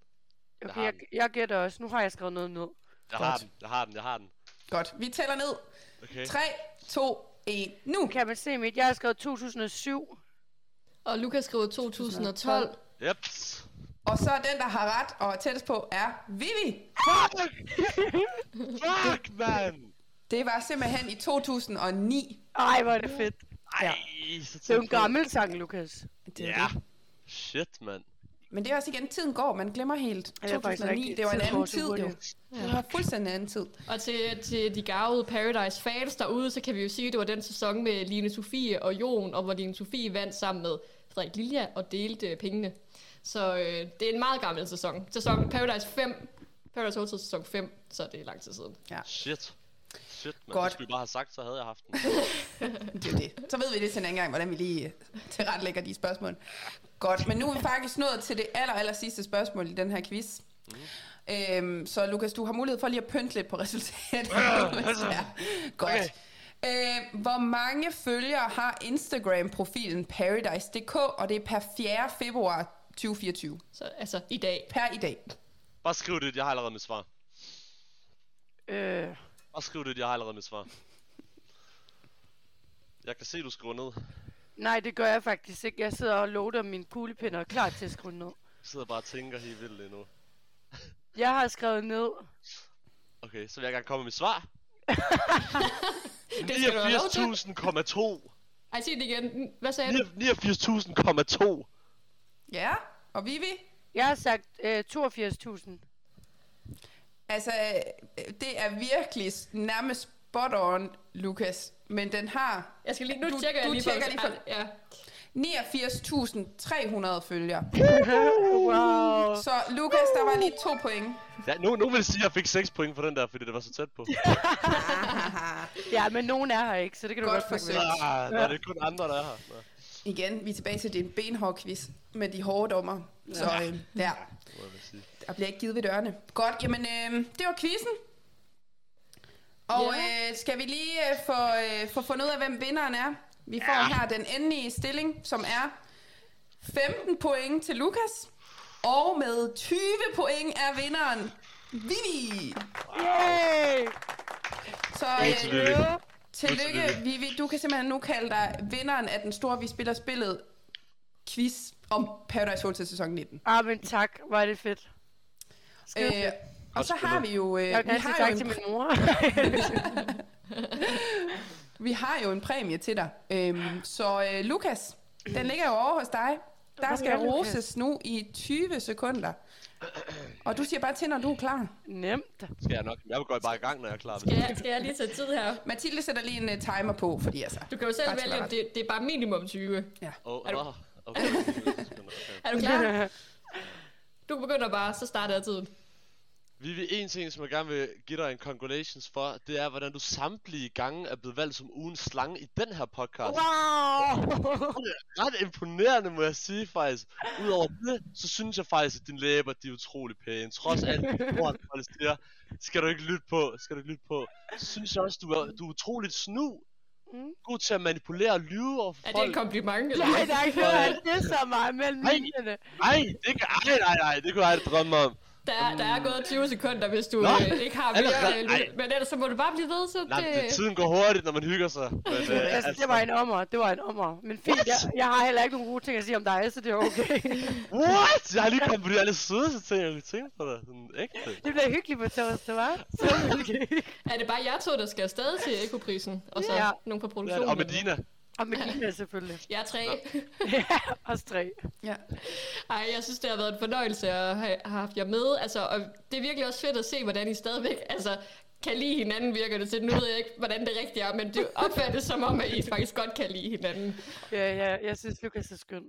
S5: Jeg
S4: okay,
S5: har
S4: jeg,
S5: den.
S4: jeg gætter også. Nu har jeg skrevet noget ned.
S5: Jeg har
S2: Godt.
S5: den. Jeg har den. Jeg har den.
S2: Godt. Vi tæller ned.
S5: Okay.
S2: 3, 2, 1. Nu!
S4: Kan man se mit? Jeg har skrevet 2007.
S1: Og Lukas skriver 2012.
S5: Yep.
S2: Og så den, der har ret og er tættest på, er Vivi.
S5: Fuck! Fuck, man!
S2: Det var simpelthen i 2009.
S4: Ej, hvor er det fedt.
S5: Ej, så
S4: Det er jo en
S5: tæt på.
S4: gammel sang, Lukas.
S2: Det er
S5: Ja.
S2: det.
S5: Shit, mand.
S2: Men det er også igen, tiden går, man glemmer helt.
S4: Ja, det er faktisk
S2: 2009,
S4: rigtigt.
S2: det var en
S4: Tiden
S2: anden
S4: går så
S2: tid jo.
S4: hurtigt.
S2: Det var fuldstændig en anden tid.
S1: Og til, til de gavede Paradise fans derude, så kan vi jo sige, at det var den sæson med Line Sofie og Jon, og hvor Line Sofie vandt sammen med Frederik Lilja og delte øh, pengene. Så øh, det er en meget gammel sæson. Sæson Paradise 5. Paradise Hotel sæson 5, så det er lang tid siden.
S5: Shit. Shit, man.
S2: Godt.
S5: Det skulle vi bare have sagt, så havde jeg haft den.
S2: Det er jo det. Så ved vi det til en anden gang, hvordan vi lige øh, tilrettelægger de spørgsmål. Godt, men nu er vi faktisk nået til det aller, aller sidste spørgsmål i den her quiz. Øhm, så Lukas, du har mulighed for lige at pynte lidt på resultatet. <laughs> ja. Godt. Okay. Øh, hvor mange følgere har Instagram-profilen Paradise.dk, og det er per 4. februar 2024.
S1: Så altså i dag.
S2: Per i dag.
S5: Bare skriv det, jeg har allerede mit svar.
S4: Øh,
S5: Bare skriv det, jeg har allerede mit svar. Jeg kan se, du skriver ned.
S4: nej, det gør jeg faktisk ikke. Jeg sidder og loader mine kuglepinder og er klar til at skrive ned.
S5: Jeg sidder bare og tænker helt vildt lige nu.
S4: Jeg har skrevet ned.
S5: Okay, så vil jeg gerne komme med mit svar.
S1: Det skal du have lov til.
S5: 89.000,2.
S1: Ej, sig det igen. Hvad sagde du?
S5: 89.000,2.
S2: Ja, og Vivi?
S4: Jeg har sagt øh, 82.000.
S2: Altså, øh, det er virkelig s- nærmest spot on, Lukas. Men den har
S1: Jeg skal lige, nu
S2: Du-
S1: tjekker jeg
S2: du
S1: lige
S2: tjekker
S1: på, Ah,
S2: lige
S1: hvis-
S2: for-
S1: Ja.
S2: 89.300 følgere.
S4: wow.
S2: Så Lukas, der var lige to point.
S5: Ja, nu, nu vil jeg sige, at jeg fik 6 point for den der, fordi det var så tæt
S1: <laughs>
S5: på.
S4: Ja, men nogen er her ikke, så det kan du
S2: Godt
S4: godt
S2: forsøgt.
S4: fucking vide.
S5: Ah, nej, det er kun andre, der er her. Nå.
S2: Igen, vi er tilbage til din benhård quiz med de hårde dommer. Så øh, der,
S5: Må jeg vel sige.
S2: der bliver ikke givet ved dørene. Godt, jamen øh, det var quizzen. Og øh, skal vi lige øh, få, øh, få fundet ud af, hvem vinderen er? Vi får her den endelige stilling, som er 15 point til Lukas. Og med 20 point er vinderen Vivi.
S4: Yay!
S2: Så
S5: Tillykke,
S2: øh,
S5: Tillykke.
S2: tillykke,
S5: Tillykke.
S2: Vivi. Du kan simpelthen nu kalde dig vinderen af den store Vi Spiller Spillet quiz om Paradise Hotel sæson 19.
S4: Ah, men tak. Hvor er det fedt. Skide
S2: Øh,
S4: fedt.
S2: og så har vi jo, øh, vi,
S4: Jeg kan sige
S2: har
S4: tak
S2: jo
S4: til
S2: en,
S4: min mor.
S2: vi har jo en præmie til dig. Øhm, så øh, Lukas, den ligger jo over hos dig. Der skal
S4: ja, Lukas.
S2: roses nu i 20 sekunder. Og du siger bare til, når du er klar.
S4: Nemt.
S5: Skal jeg nok. Jeg går bare i gang, når jeg er klar. hvis-
S1: Ja, skal jeg lige tage tid her?
S2: Mathilde sætter lige en uh, timer på, fordi altså...
S1: Du kan jo selv
S2: Ret,
S1: vælge, om
S2: ret.
S1: det, det er bare minimum 20.
S5: Åh,
S1: Er du-
S5: nå, okay. okay.
S1: Er du <laughs> klar? Du begynder bare, så starter jeg tiden.
S5: Vi vil en ting, som jeg gerne vil give dig en congratulations for, det er, hvordan du samtlige gange er blevet valgt som ugens slange i den her podcast.
S4: Wow!
S5: Ret imponerende, må jeg sige faktisk. Udover det, så synes jeg faktisk, at dine læber, de er utrolig pæne. Trods alt, hvor folk siger, skal du ikke lytte på, skal du ikke lytte på. Så synes jeg også, du er, du er utroligt snu.
S4: Mm.
S5: God til at manipulere og lyve over for
S1: Er det
S5: folk.
S1: et kompliment? Eller?
S4: Nej,
S1: hvad?
S4: der er ikke noget, han disser mig mellem
S5: Nej.
S4: linjerne.
S5: Nej, det kan, ej, nej, nej, det kunne jeg aldrig drømme om.
S1: Der, er- der er gået 20 sekunder, hvis du
S5: Nå,
S1: øh, ikke har
S5: allerede?
S1: mere.
S5: Ej.
S1: Men ellers så må du bare blive ved, så
S5: Nej, men det,
S1: det...
S5: tiden går hurtigt, når man hygger sig. Men, øh,
S4: Altså, det var en ommer, det var en ommer. Men fint, jeg, jeg har heller ikke nogen gode ting at sige om dig, så det er okay.
S5: What? Jeg har lige kommet på de aller sødeste ting, jeg kunne tænke på dig. Sådan ægte.
S4: det bliver hyggeligt på torsdag, hva'? Så er det okay.
S1: Er det bare jer to, der skal afsted til Ekoprisen? Og så
S4: Ja.
S1: ja. nogen på
S5: Det er det.
S1: produktionen?
S5: Og med Dina.
S4: Og med Lina selvfølgelig.
S1: Jeg er tre.
S4: <laughs> Ja, os tre.
S2: Ja.
S1: Ej, jeg synes, det har været en fornøjelse at have have haft jer med. Altså, og det er virkelig også fedt at se, hvordan I stadigvæk altså, kan lide hinanden, virker det til. Nu ved jeg ikke, hvordan det rigtigt er, men det opfattes som om, at I faktisk godt kan lide hinanden.
S4: Ja, ja, jeg synes, Lukas er skøn.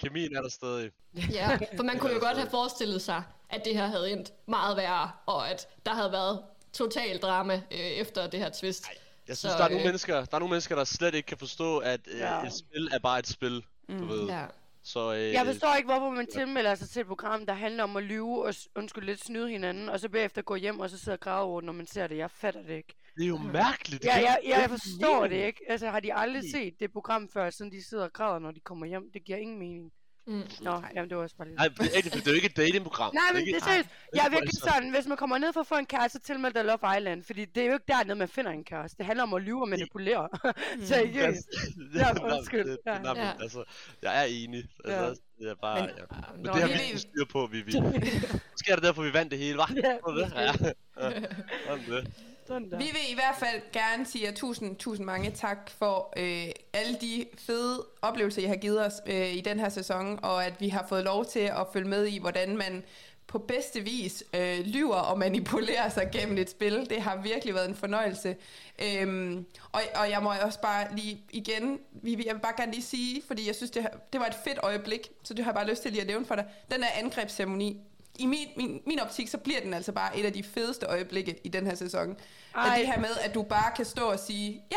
S5: Kemien er der stadig.
S1: Ja, for man kunne jo godt have forestillet sig, at det her havde endt meget værre, og at der havde været total drama øh, efter det her twist.
S5: Jeg synes,
S1: Så,
S5: der er, nogle
S1: øh,
S5: mennesker, der er nogle mennesker, der slet ikke kan forstå, at øh,
S4: Ja.
S5: et spil er bare et spil. Du ved.
S1: Mm, Ja.
S5: Så øh,
S4: Jeg forstår ikke, hvorfor man tilmelder sig til et program, der handler om at lyve og s- undskyld lidt snyde hinanden, og så bagefter gå hjem og så sidde og grave over, det, når man ser det. Jeg fatter det ikke.
S5: det er jo mærkeligt.
S4: Ja,
S5: Det
S4: jeg,
S5: giver
S4: jeg, jeg
S5: ingen
S4: forstår det
S5: mening.
S4: ikke. Altså, har de aldrig set det program før, siden de sidder og græder, når de kommer hjem? Det giver ingen mening.
S1: Mm.
S4: Nå, jamen, det var også bare lige...
S5: Nej, det er, ikke, det er jo ikke et datingprogram.
S4: Nej, men
S5: ikke-
S4: det er
S5: <laughs>
S4: seriøst. Jeg er
S5: for
S4: virkelig
S5: altså.
S4: sådan, hvis man kommer ned for at få en kæreste, tilmeld dig Love Island. Fordi det er jo ikke dernede, man finder en kæreste. Det handler om at lyve og manipulere. <laughs> Seriøst. Ja,
S5: <laughs> Nå, men
S4: undskyld.
S5: Altså, det-
S4: Ja.
S5: Nå, men,
S1: Ja.
S5: altså, jeg er enig. Altså, det er bare,
S2: Men-
S5: ja. Men
S4: Nå,
S5: det har vi
S2: det-
S5: ikke styr på, Vivi. Måske er det derfor, vi vandt det hele, hva'?
S4: Ja,
S5: Tror du det?
S4: måske.
S5: Ja.
S1: <laughs>
S5: Ja. Sådan det.
S4: Sådan der.
S2: Vi vil i hvert fald gerne sige jer tusind, tusind mange tak for øh, alle de fede oplevelser, I har givet os øh, i den her sæson, og at vi har fået lov til at følge med i, hvordan man på bedste vis øh, lyver og manipulerer sig gennem et spil. Det har virkelig været en fornøjelse. Øhm, og, og jeg må også bare lige igen, Vivi, jeg vil bare gerne lige sige, fordi jeg synes, det, har- det var et fedt øjeblik, så det har jeg bare lyst til lige at nævne for dig. Den her angrebsceremoni, i min, min, min optik, så bliver den altså bare et af de fedeste øjeblikke i den her sæson. Ej.
S4: Ej.
S2: Og det her med, at du bare kan stå og sige, ja,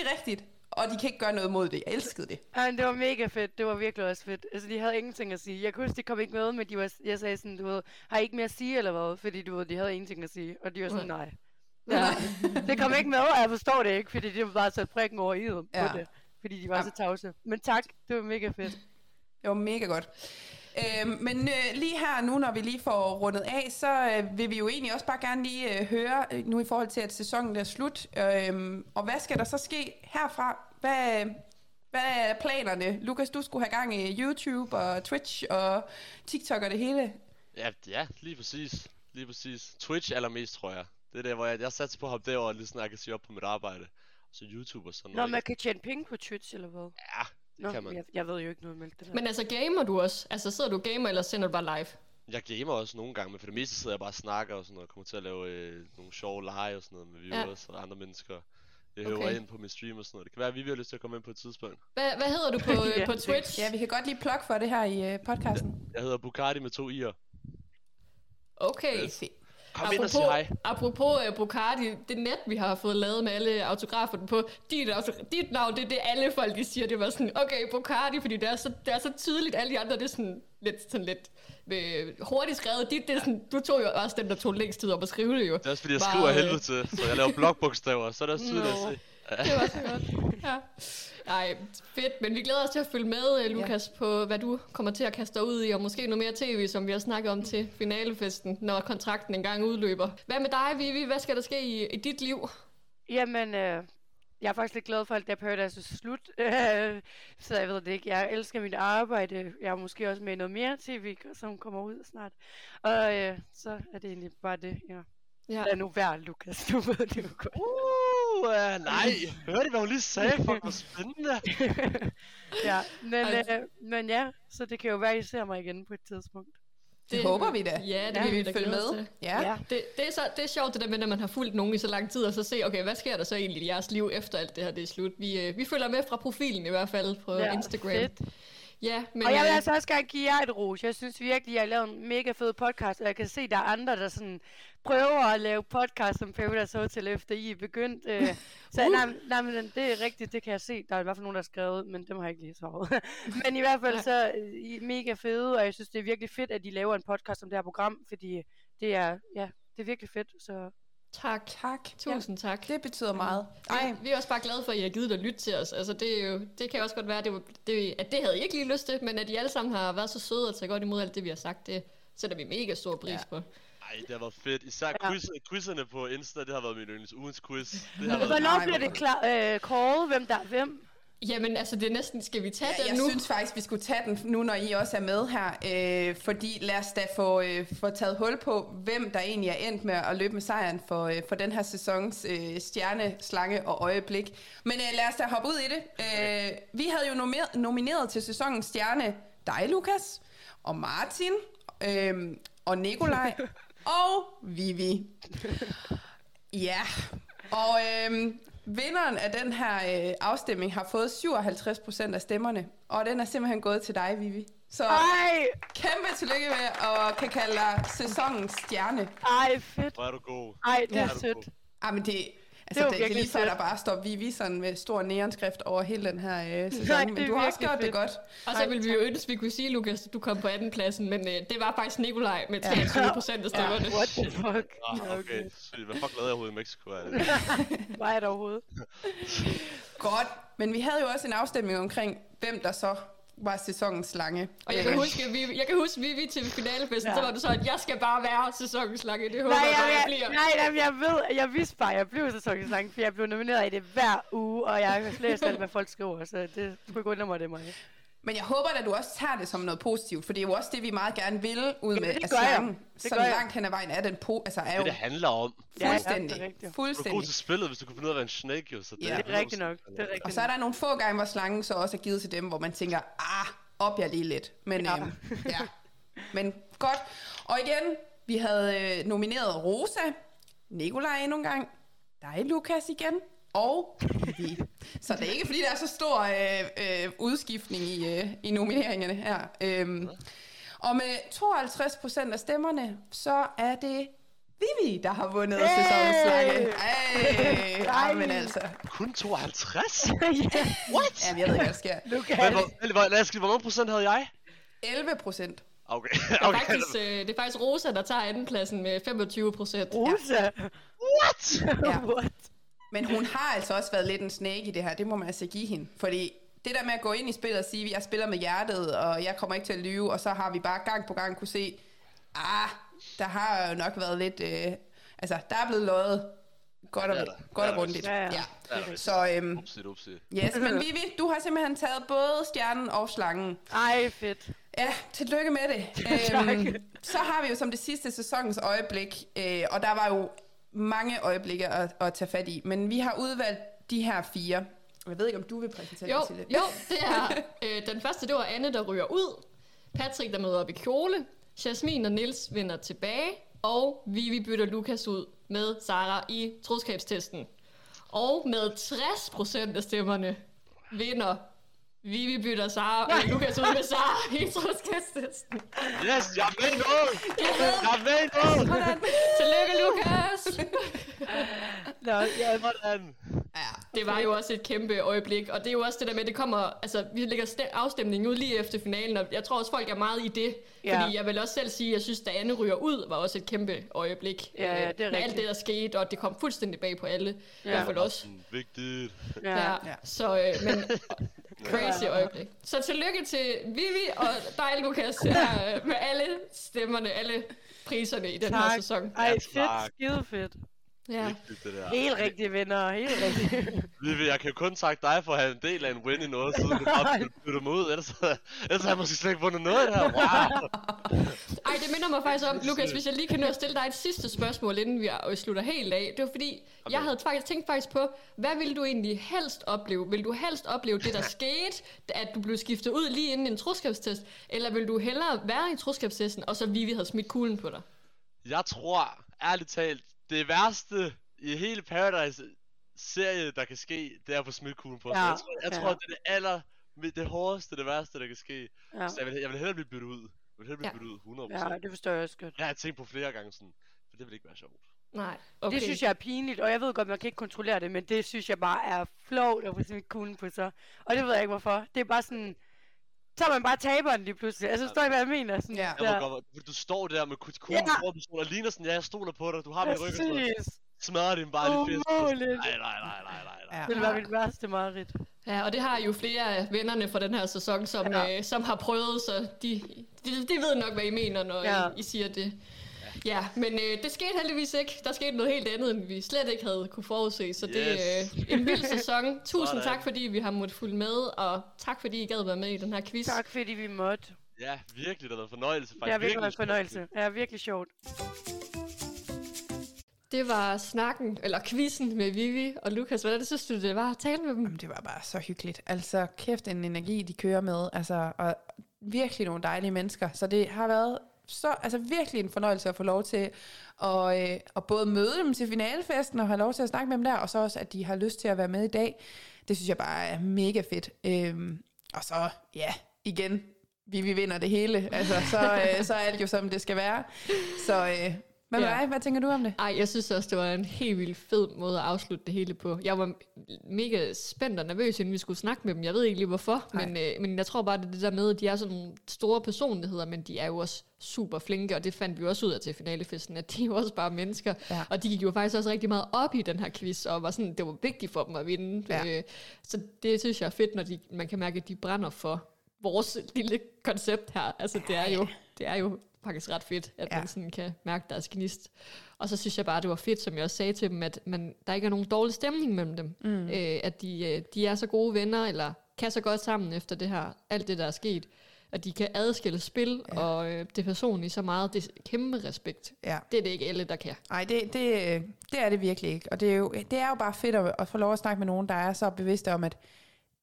S2: det er rigtigt, og de kan ikke gøre noget mod det. Jeg elskede det.
S4: Ej, men det var mega fedt. Det var virkelig også fedt. Altså, de havde ingenting at sige. Jeg kunne huske, de kom ikke med, men de var, jeg sagde sådan, du ved, har I ikke mere at sige eller hvad? Fordi du ved, de havde ingenting at sige. Og de var sådan, nej. Ja. <laughs> det kom ikke med, og jeg forstår det ikke, fordi de var bare sat prikken over i dem ja.
S2: Ja.
S4: på det. Fordi de var så tavse. Men tak, det var mega fedt.
S2: Det var mega godt. Øhm, men øh, lige her nu, når vi lige får rundet af, så øh, vil vi jo egentlig også bare gerne lige øh, høre, øh, nu i forhold til, at sæsonen er slut, øh, og hvad skal der så ske herfra? Hvad, hvad er planerne? Lukas, du skulle have gang i YouTube og Twitch og TikTok og det hele.
S5: Ja, ja, lige præcis. Lige præcis. Twitch allermest, tror jeg. Det er der, hvor jeg, jeg satser på at hoppe derover, lige sådan, jeg kan sige op på mit arbejde. Så YouTube og sådan
S4: Når
S5: noget.
S4: man kan tjene penge på Twitch eller hvad?
S5: Ja,
S4: Nå,
S5: kan man.
S4: Jeg, jeg ved jo ikke noget om alt det der.
S1: Men altså, gamer du også? Altså, sidder du og gamer, eller sender du bare live?
S5: Jeg gamer også nogle gange, men for det meste sidder jeg bare og snakker og sådan noget, og kommer til at lave øh, nogle sjove lege og sådan noget med viewers og andre mennesker. Jeg hører
S1: Okay.
S5: ind på min stream og sådan noget. Det kan være, at Vivi har lyst til at komme ind på et tidspunkt.
S1: Hvad, hvad hedder du på, øh,
S4: Ja,
S1: på
S4: det-
S1: Twitch?
S2: <laughs> Ja, vi kan godt lige plukke for det her i øh, podcasten.
S5: Jeg hedder Bukardi med to i'er.
S1: Okay.
S5: Kom ind og sig hej.
S1: apropos uh, Bocardi, det net, vi har fået lavet med alle autograferne på, dit, auto- dit navn, det er det, alle folk de siger. Det var sådan, okay, Bocardi, fordi det er så, det er så tydeligt. Alle de andre, det er sådan lidt, sådan lidt øh, hurtigt skrevet. Dit, det er sådan, du tog jo også den, der tog længst tid om at skrive det jo.
S5: Det er også fordi, jeg
S1: Bare,
S5: skriver af
S1: øh,
S5: helvede til, så jeg laver blogbogstaver, så er det også tydeligt at
S4: Nå.
S5: se.
S1: Det var så godt. Ja. Ej, fedt. Men vi glæder os til at følge med, øh, Lukas, ja. på hvad du kommer til at kaste dig ud i, og måske noget mere tv, som vi har snakket om til finalefesten, når kontrakten engang udløber. Hvad med dig, Vivi? Hvad skal der ske i, i dit liv?
S4: Jamen, øh, jeg er faktisk lidt glad for, at der Paradise er slut. <laughs> Øh, så jeg ved det ikke. Jeg elsker mit arbejde. Jeg er måske også med i noget mere tv, som kommer ud snart. Og øh, så er det egentlig bare det, ja.
S1: Ja.
S4: Lad nu være, Lukas. Du ved det jo godt.
S5: Uh, uh, nej. Hørte I, hvad hun lige sagde? Fuck, hvor spændende.
S4: ja, men,
S1: Ej.
S4: øh, men ja, så det kan jo være, I ser mig igen på et tidspunkt.
S2: Det håber vi da.
S1: Ja, det ja,
S2: Ja,
S1: vil
S2: vi
S1: vi
S2: vil
S1: da
S2: følge
S1: glæde os
S2: med.
S1: til.
S2: Ja. ja.
S1: Det, det, er så, det er sjovt det der med, når man har fulgt nogen i så lang tid, og så se, okay, hvad sker der så egentlig i jeres liv efter alt det her, det er slut. Vi, øh, vi følger med fra profilen i hvert fald på ja, Instagram.
S4: Fedt.
S1: Ja, men
S4: Og jeg vil
S1: øh,
S4: altså også gerne give jer et ros. Jeg synes virkelig, jeg har lavet en mega fed podcast, og jeg kan se, der er andre, der sådan prøver at lave podcast om Paradise Hotel, efter I er begyndt. Øh, <laughs> så uh. nej, men- nej, men det er rigtigt, det kan jeg se. Der er i hvert fald nogen, der har skrevet, men dem har jeg ikke lige svaret. <laughs> men i hvert fald så øh, I er mega fede, og jeg synes, det er virkelig fedt, at I laver en podcast om det her program, fordi det er, ja, det er virkelig fedt. Så
S1: tak.
S2: Tak.
S1: Tusind ja. tak.
S2: Ja, det betyder meget. Ej,
S1: Ej, vi er også bare glade for, at I har givet at lytte til os. Altså, det, er jo, det kan også godt være, at det, var, det, at det havde I ikke lige lyst til, men at I alle sammen har været så søde og taget godt imod alt det, vi har sagt, det sætter vi mega stor pris ja. på.
S5: Ej, det har været fedt. Især quiz, quizzerne på Insta, det har været min yndlings ugens quiz.
S4: <laughs>
S5: Det har været...
S4: hvornår bliver det klar, øh, kåret, hvem der er hvem?
S1: Jamen, altså, det er næsten, skal vi tage
S2: Ja,
S1: den
S2: jeg
S1: nu?
S2: synes faktisk, vi skulle tage den nu, når I også er med her. Øh, fordi lad os da få, øh, få taget hul på, hvem der egentlig er endt med at løbe med sejren for, øh, for den her sæsons øh, stjerne, slange og øjeblik. Men øh, lad os da hoppe ud i det. Øh, vi havde jo nomineret, nomineret til sæsonens stjerne dig, Lukas, og Martin, øh, og Nikolaj, og Vivi. Ja, og øhm, vinderen af den her øh, afstemning har fået 57 procent af stemmerne, og den er simpelthen gået til dig, Vivi. Så
S4: Ej,
S2: kæmpe tillykke med at kan kalde dig sæsonens stjerne.
S4: ej, fedt.
S5: Hvor er du god.
S4: Ej, det
S5: Hvor
S4: er
S5: er du
S4: sødt.
S5: god.
S2: Ah, men det, altså,
S4: var
S2: det, det er
S4: virkelig
S2: lige før,
S4: fedt.
S2: der bare står Vivi sådan med stor neonskrift over hele den her øh, sæson,
S4: Nej,
S2: Nej,
S4: det
S2: men
S4: er
S2: du har også
S4: virkelig
S2: gjort det
S4: fedt.
S2: godt.
S1: Og så ville vi jo ønske, at vi kunne sige, Lukas, at du kom på andenpladsen, men øh, det var faktisk Nikolaj med 23 procent af stemmerne.
S4: What the fuck?
S5: Ah, okay. Sygt. Hvad fuck lavede jeg overhovedet i Mexico? Er det?
S4: <laughs> Var jeg der overhovedet?
S2: Godt, men vi havde jo også en afstemning omkring, hvem der så var sæsonens slange.
S1: Og jeg kan huske, at vi, jeg kan huske, at vi til finalefesten, ja.
S4: Ja.
S1: så var du så, at jeg skal bare være sæsonens lange. Det håber
S4: Nej,
S1: jeg,
S4: jeg,
S1: bare, jeg
S4: jeg,
S1: bliver.
S4: nej, nej, jeg ved, jeg vidste bare, at jeg blev sæsonslange, for jeg blev nomineret i det hver uge, og jeg har læst alt, hvad folk skriver, så det skulle ikke undre mig, det er
S1: <laughs>
S4: mig.
S2: Men jeg håber, at du også tager det som noget positivt, for det er jo også det, vi meget gerne vil ud med
S4: det
S2: af
S4: gør jeg.
S2: slangen.
S4: Det
S2: Så
S4: gør jeg.
S2: langt hen ad vejen er den po, altså er
S5: Det,
S2: jo
S5: det handler om.
S4: Ja, ja, det er
S2: fuldstændig,
S4: rigtigt.
S5: Du er god
S2: fuldstændig.
S5: til spillet, hvis du kunne finde ud af at være en snake, jo. Så det,
S2: Ja.
S5: er
S2: Det er
S5: hundrede
S4: rigtigt nok.
S5: procent.
S4: Det er rigtigt.
S2: Og så er der nogle få gange, hvor slangen så også er givet til dem, hvor man tænker, ah, op jeg lige lidt. Men ja.
S4: Ja.
S2: Øhm, ja. Men godt. Og igen, vi havde øh, nomineret Rosa, Nikolaj endnu en gang, dig Lukas igen, og Vivi. Så det er ikke, fordi der er så stor øh, øh, udskiftning i, øh, i nomineringerne her. Øhm, og med 52 procent af stemmerne, så er det Vivi, der har vundet hey!
S4: Hey!
S2: sæsonens slange. Hey!
S4: Ej.
S2: Ej, men altså.
S5: Kun 52?
S4: ja,
S5: What?
S2: Jamen, jeg ved ikke, hvad der sker.
S5: Men,
S4: Lukas.
S5: hvor, hvor, lad os skrive, hvor mange procent havde jeg?
S2: 11 procent.
S5: Okay.
S1: Det er,
S5: okay.
S1: faktisk, øh, det er faktisk Rosa, der tager andenpladsen med 25 procent.
S4: <laughs> Rosa.
S5: What?
S2: Ja.
S4: What?
S2: Men hun har altså også været lidt en snake i det her, det må man altså give hende. Fordi det der med at gå ind i spillet og sige, at jeg spiller med hjertet, og jeg kommer ikke til at lyve, og så har vi bare gang på gang kunne se, ah, der har jo nok været lidt, øh, altså der er blevet løjet godt og,
S5: Ja, der.
S2: godt
S5: Ja,
S2: og
S5: der.
S2: grundigt.
S4: Ja, ja.
S2: Ja.
S5: Ja, der.
S2: Så øhm,
S5: Upsi, upsi.
S2: yes, men Vivi, du har simpelthen taget både stjernen og slangen.
S4: Ej, fedt.
S2: Ja, tillykke med det.
S1: <laughs>
S2: Øhm, så har vi jo som det sidste sæsonens øjeblik, øh, og der var jo mange øjeblikke at, at tage fat i, men vi har udvalgt de her fire. Jeg ved ikke, om du vil præsentere
S1: Jo,
S2: dig til det. <laughs>
S1: jo, det er øh, den første, det var Anne, der ryger ud. Patrick, der møder op i kjole. Jasmin og Nils vender tilbage. Og Vivi bytter Lukas ud med Sara i troskabstesten. Og med 60% af stemmerne vinder Vivi bytter Sara og Lukas ud med Sara i troskabstesten.
S5: Yes, jeg er med nu! Jeg er med nu!
S1: Tillykke, Lukas!
S4: Nå, ja,
S5: Sådan.
S1: Det var jo også et kæmpe øjeblik, og det er jo også det der med, at det kommer, altså vi lægger ste- afstemningen ud lige efter finalen, og jeg tror også folk er meget i det,
S4: Ja.
S1: ja. fordi jeg vil også selv sige, at jeg synes, da Anne ryger ud, var også et kæmpe øjeblik.
S4: Ja, ja, det er
S1: Øh, Med alt
S4: rigtigt.
S1: det, der skete, og det kom fuldstændig bag på alle, ja. i hvert fald også.
S5: Mm, Vigtigt.
S4: ja.
S1: Ja.
S4: ja.
S1: ja. Så, øh,
S4: <laughs>
S1: men crazy øjeblik. Så tillykke til Vivi og dig,
S4: <laughs>
S1: Lukas, her, øh, med alle stemmerne, alle priserne i den her
S4: Tak.
S1: sæson.
S4: Ej,
S5: Ja, tak.
S4: fedt. Skide fedt.
S1: Ja.
S5: Vigtigt, det der.
S4: Helt rigtige venner. Helt rigtige.
S5: Vivi, jeg kan jo kun takke dig for at have en del af en win i noget, siden du
S4: <laughs>
S5: bare byttede mig ud. Ellers, ellers har jeg måske slet ikke vundet
S4: <laughs>
S5: noget der. Wow.
S1: Ej, det minder mig faktisk om, Lukas, hvis jeg lige kan nå at stille dig et sidste spørgsmål, inden vi øh, slutter helt af. Det var fordi, okay. jeg havde faktisk tænkt faktisk på, hvad ville du egentlig helst opleve? Vil du helst opleve det, der skete, at du blev skiftet ud lige inden en troskabstest? Eller vil du hellere være i troskabstesten, og så Vivi havde smidt kuglen på dig?
S5: Jeg tror, ærligt talt, det værste i hele Paradise-serie, der kan ske, det er at få smidt kuglen på. Ja.
S4: Ja,
S5: Jeg, tror, jeg
S4: ja.
S5: tror, det er det aller... Det hårdeste, det værste, der kan ske.
S4: Ja.
S5: Så jeg vil, jeg vil hellere blive byttet ud. Jeg vil hellere blive
S1: Ja.
S5: byttet ud, 100%.
S4: ja, det forstår jeg også godt.
S5: Jeg har tænkt på flere gange sådan, for det vil ikke være sjovt.
S1: Nej,
S4: Okay.
S1: okay.
S4: Det synes jeg er pinligt, og jeg ved godt, man kan ikke kontrollere det, men det synes jeg bare er flovt at få sin kugle på sig. Og det ved jeg ikke hvorfor. Det er bare sådan, så er man bare taberen lige pludselig. Altså, forstår I, hvad jeg mener? Sådan,
S2: Ja.
S5: Jeg må godt, fordi du står der med kut kuglen
S4: Ja.
S5: ja. foran personen, og ligner sådan, ja, jeg stoler på dig, du har min ryg, og sådan,
S4: Præcis.
S5: smadrer din bare lige fisk. og sådan,
S4: Umuligt.
S5: Nej, nej, nej, nej, nej, nej.
S2: Ja.
S5: Ja.
S4: Det ville være mit værste mareridt.
S1: Ja, og det har jo flere af vennerne fra den her sæson, som,
S4: Ja.
S1: ja. øh, som har prøvet, så de, de, de ved nok, hvad I mener, når
S4: Ja.
S1: ja. I, I siger det. Ja, men øh, det skete heldigvis ikke. Der skete noget helt andet, end vi slet ikke havde kunne forudse, så yes. det er
S5: Yes.
S1: øh, en
S5: <laughs>
S1: vild sæson. Tusind
S5: Sådan.
S1: tak, fordi vi har måttet følge med, og tak, fordi I gad være med i den her quiz.
S4: Tak fordi vi måtte.
S5: ja, virkelig, det har været en fornøjelse.
S4: Det
S5: Faktisk.
S4: har virkelig været en
S5: sjovt.
S4: fornøjelse. Det er virkelig sjovt.
S1: Det var snakken, eller quizzen med Vivi og Lukas. Hvordan synes du, det var at tale med dem?
S2: Jamen, det var bare så hyggeligt. Altså, kæft en energi, de kører med. Altså, og virkelig nogle dejlige mennesker. Så det har været så, altså virkelig en fornøjelse at få lov til at, øh, at både møde dem til finalefesten og have lov til at snakke med dem der, og så også, at de har lyst til at være med i dag. Det synes jeg bare er mega fedt. Øhm, og så, ja, igen, vi, vi vinder det hele. Altså, så, øh, så er alt jo, som det skal være. Så, øh, hvad med
S1: Ja.
S2: dig? Hvad tænker du om det?
S1: Ej, jeg synes også, det var en helt vildt fed måde at afslutte det hele på. Jeg var m- mega spændt og nervøs, inden vi skulle snakke med dem. Jeg ved ikke lige hvorfor,
S2: Nej.
S1: men, øh, men jeg tror bare, det er det der med, at de er sådan nogle store personligheder, men de er jo også super flinke, og det fandt vi også ud af til finalefesten, at de er jo også bare mennesker.
S2: Ja.
S1: Og de gik jo faktisk også rigtig meget op i den her quiz, og var sådan, det var vigtigt for dem at vinde.
S2: Ja.
S1: Øh, så det synes jeg er fedt, når de, man kan mærke, at de brænder for vores lille koncept her. Altså, det er jo, det er jo faktisk ret fedt, at
S2: Ja.
S1: ja. man sådan kan mærke deres gnist. Og så synes jeg bare, det var fedt, som jeg også sagde til dem, at man, der ikke er nogen dårlig stemning mellem dem. Mm. Øh, at de, øh, de er så gode venner, eller kan så godt sammen efter det her, alt det, der er sket. Og de kan adskille spil ja. og øh, det personlige så meget. Det er kæmpe respekt.
S2: Ja.
S1: Det er det ikke alle, der kan.
S2: Nej, det, det, øh, det er det virkelig ikke. Og det er jo, det er jo bare fedt at, at få lov at snakke med nogen, der er så bevidste om, at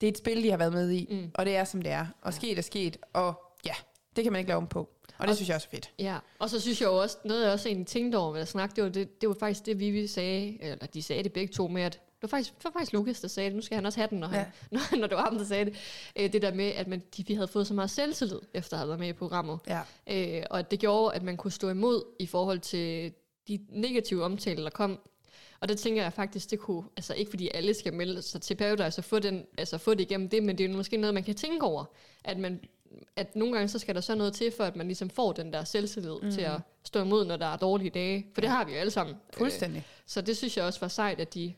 S2: det er et spil, de har været med i, mm. og det er, som det er. Og sket er sket, og ja, det kan man ikke lave om på. Og det og synes jeg også er fedt.
S1: Ja, og så synes jeg jo også, noget jeg også egentlig tænkte over ved at snakke, det var, det, det var faktisk det, Vivi sagde, eller de sagde det begge to med, at det var faktisk, det var faktisk Lukas, der sagde det, nu skal han også have den, når,
S2: Ja.
S1: han, <laughs> når, når det var ham, der sagde det. Øh, det der med, at man, de, vi havde fået så meget selvtillid, efter at have været med i programmet.
S2: Ja.
S1: Øh, og at det gjorde, at man kunne stå imod i forhold til de negative omtaler, der kom. Og der tænker jeg faktisk, det kunne, altså ikke fordi alle skal melde sig til Paradise og få, den, altså få det igennem det, men det er jo måske noget, man kan tænke over, at man at nogle gange så skal der så noget til, for at man ligesom får den der selvtillid mm. til at stå imod, når der er dårlige dage. For det har vi jo alle sammen.
S2: Fuldstændig.
S1: Øh, så det synes jeg også var sejt, at de,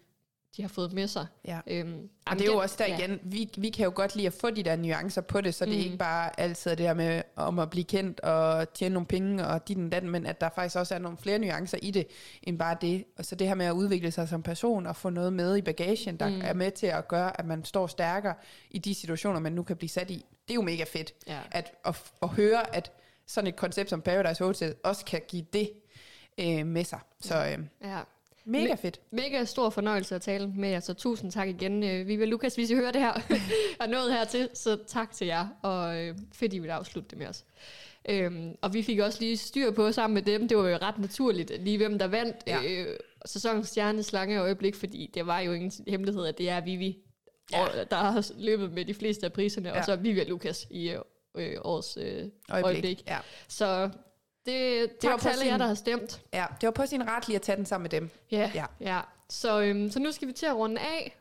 S1: de har fået med sig.
S2: Øh, Ja.
S1: Øhm,
S2: Og det er jo også der igen, vi, vi kan jo godt lide at få de der nuancer på det, så det
S1: Mm.
S2: er ikke bare altid det der med om at blive kendt og tjene nogle penge og dit og dat, men at der faktisk også er nogle flere nuancer i det, end bare det. Og så det her med at udvikle sig som person og få noget med i bagagen, der mm. er med til at gøre, at man står stærkere i de situationer, man nu kan blive sat i. Det er jo mega fedt
S1: Ja.
S2: at, at, at høre, at sådan et koncept som Paradise Hotel også kan give det øh, med sig. Så øh,
S1: Ja.
S2: Mega fedt.
S1: Mega stor fornøjelse at tale med jer, så tusind tak igen. Øh, Vivi og Lukas, hvis I hører det her, <laughs> er nået hertil, så tak til jer, og øh, fedt, I vil afslutte det med os. Øhm, og vi fik også lige styr på sammen med dem, det var jo ret naturligt, lige hvem der vandt ja.
S2: Ja.
S1: øh, sæsonens stjerne, slange og øjeblik, fordi det var jo ingen hemmelighed, at det er Vivi, ja. og, der har løbet med de fleste af priserne, ja.
S2: Ja.
S1: og så er Vivi og Lukas i øh, øh, årets øh, øjeblik.
S2: Øjeblik.
S1: øjeblik.
S2: Ja.
S1: Så det, tak
S2: var
S1: til alle jer,
S2: præcis-
S1: der har stemt.
S2: ja, det var på sin ret lige at tage den sammen med dem.
S1: Ja, ja.
S2: Ja.
S1: ja. Så, øhm, så nu skal vi til at runde af.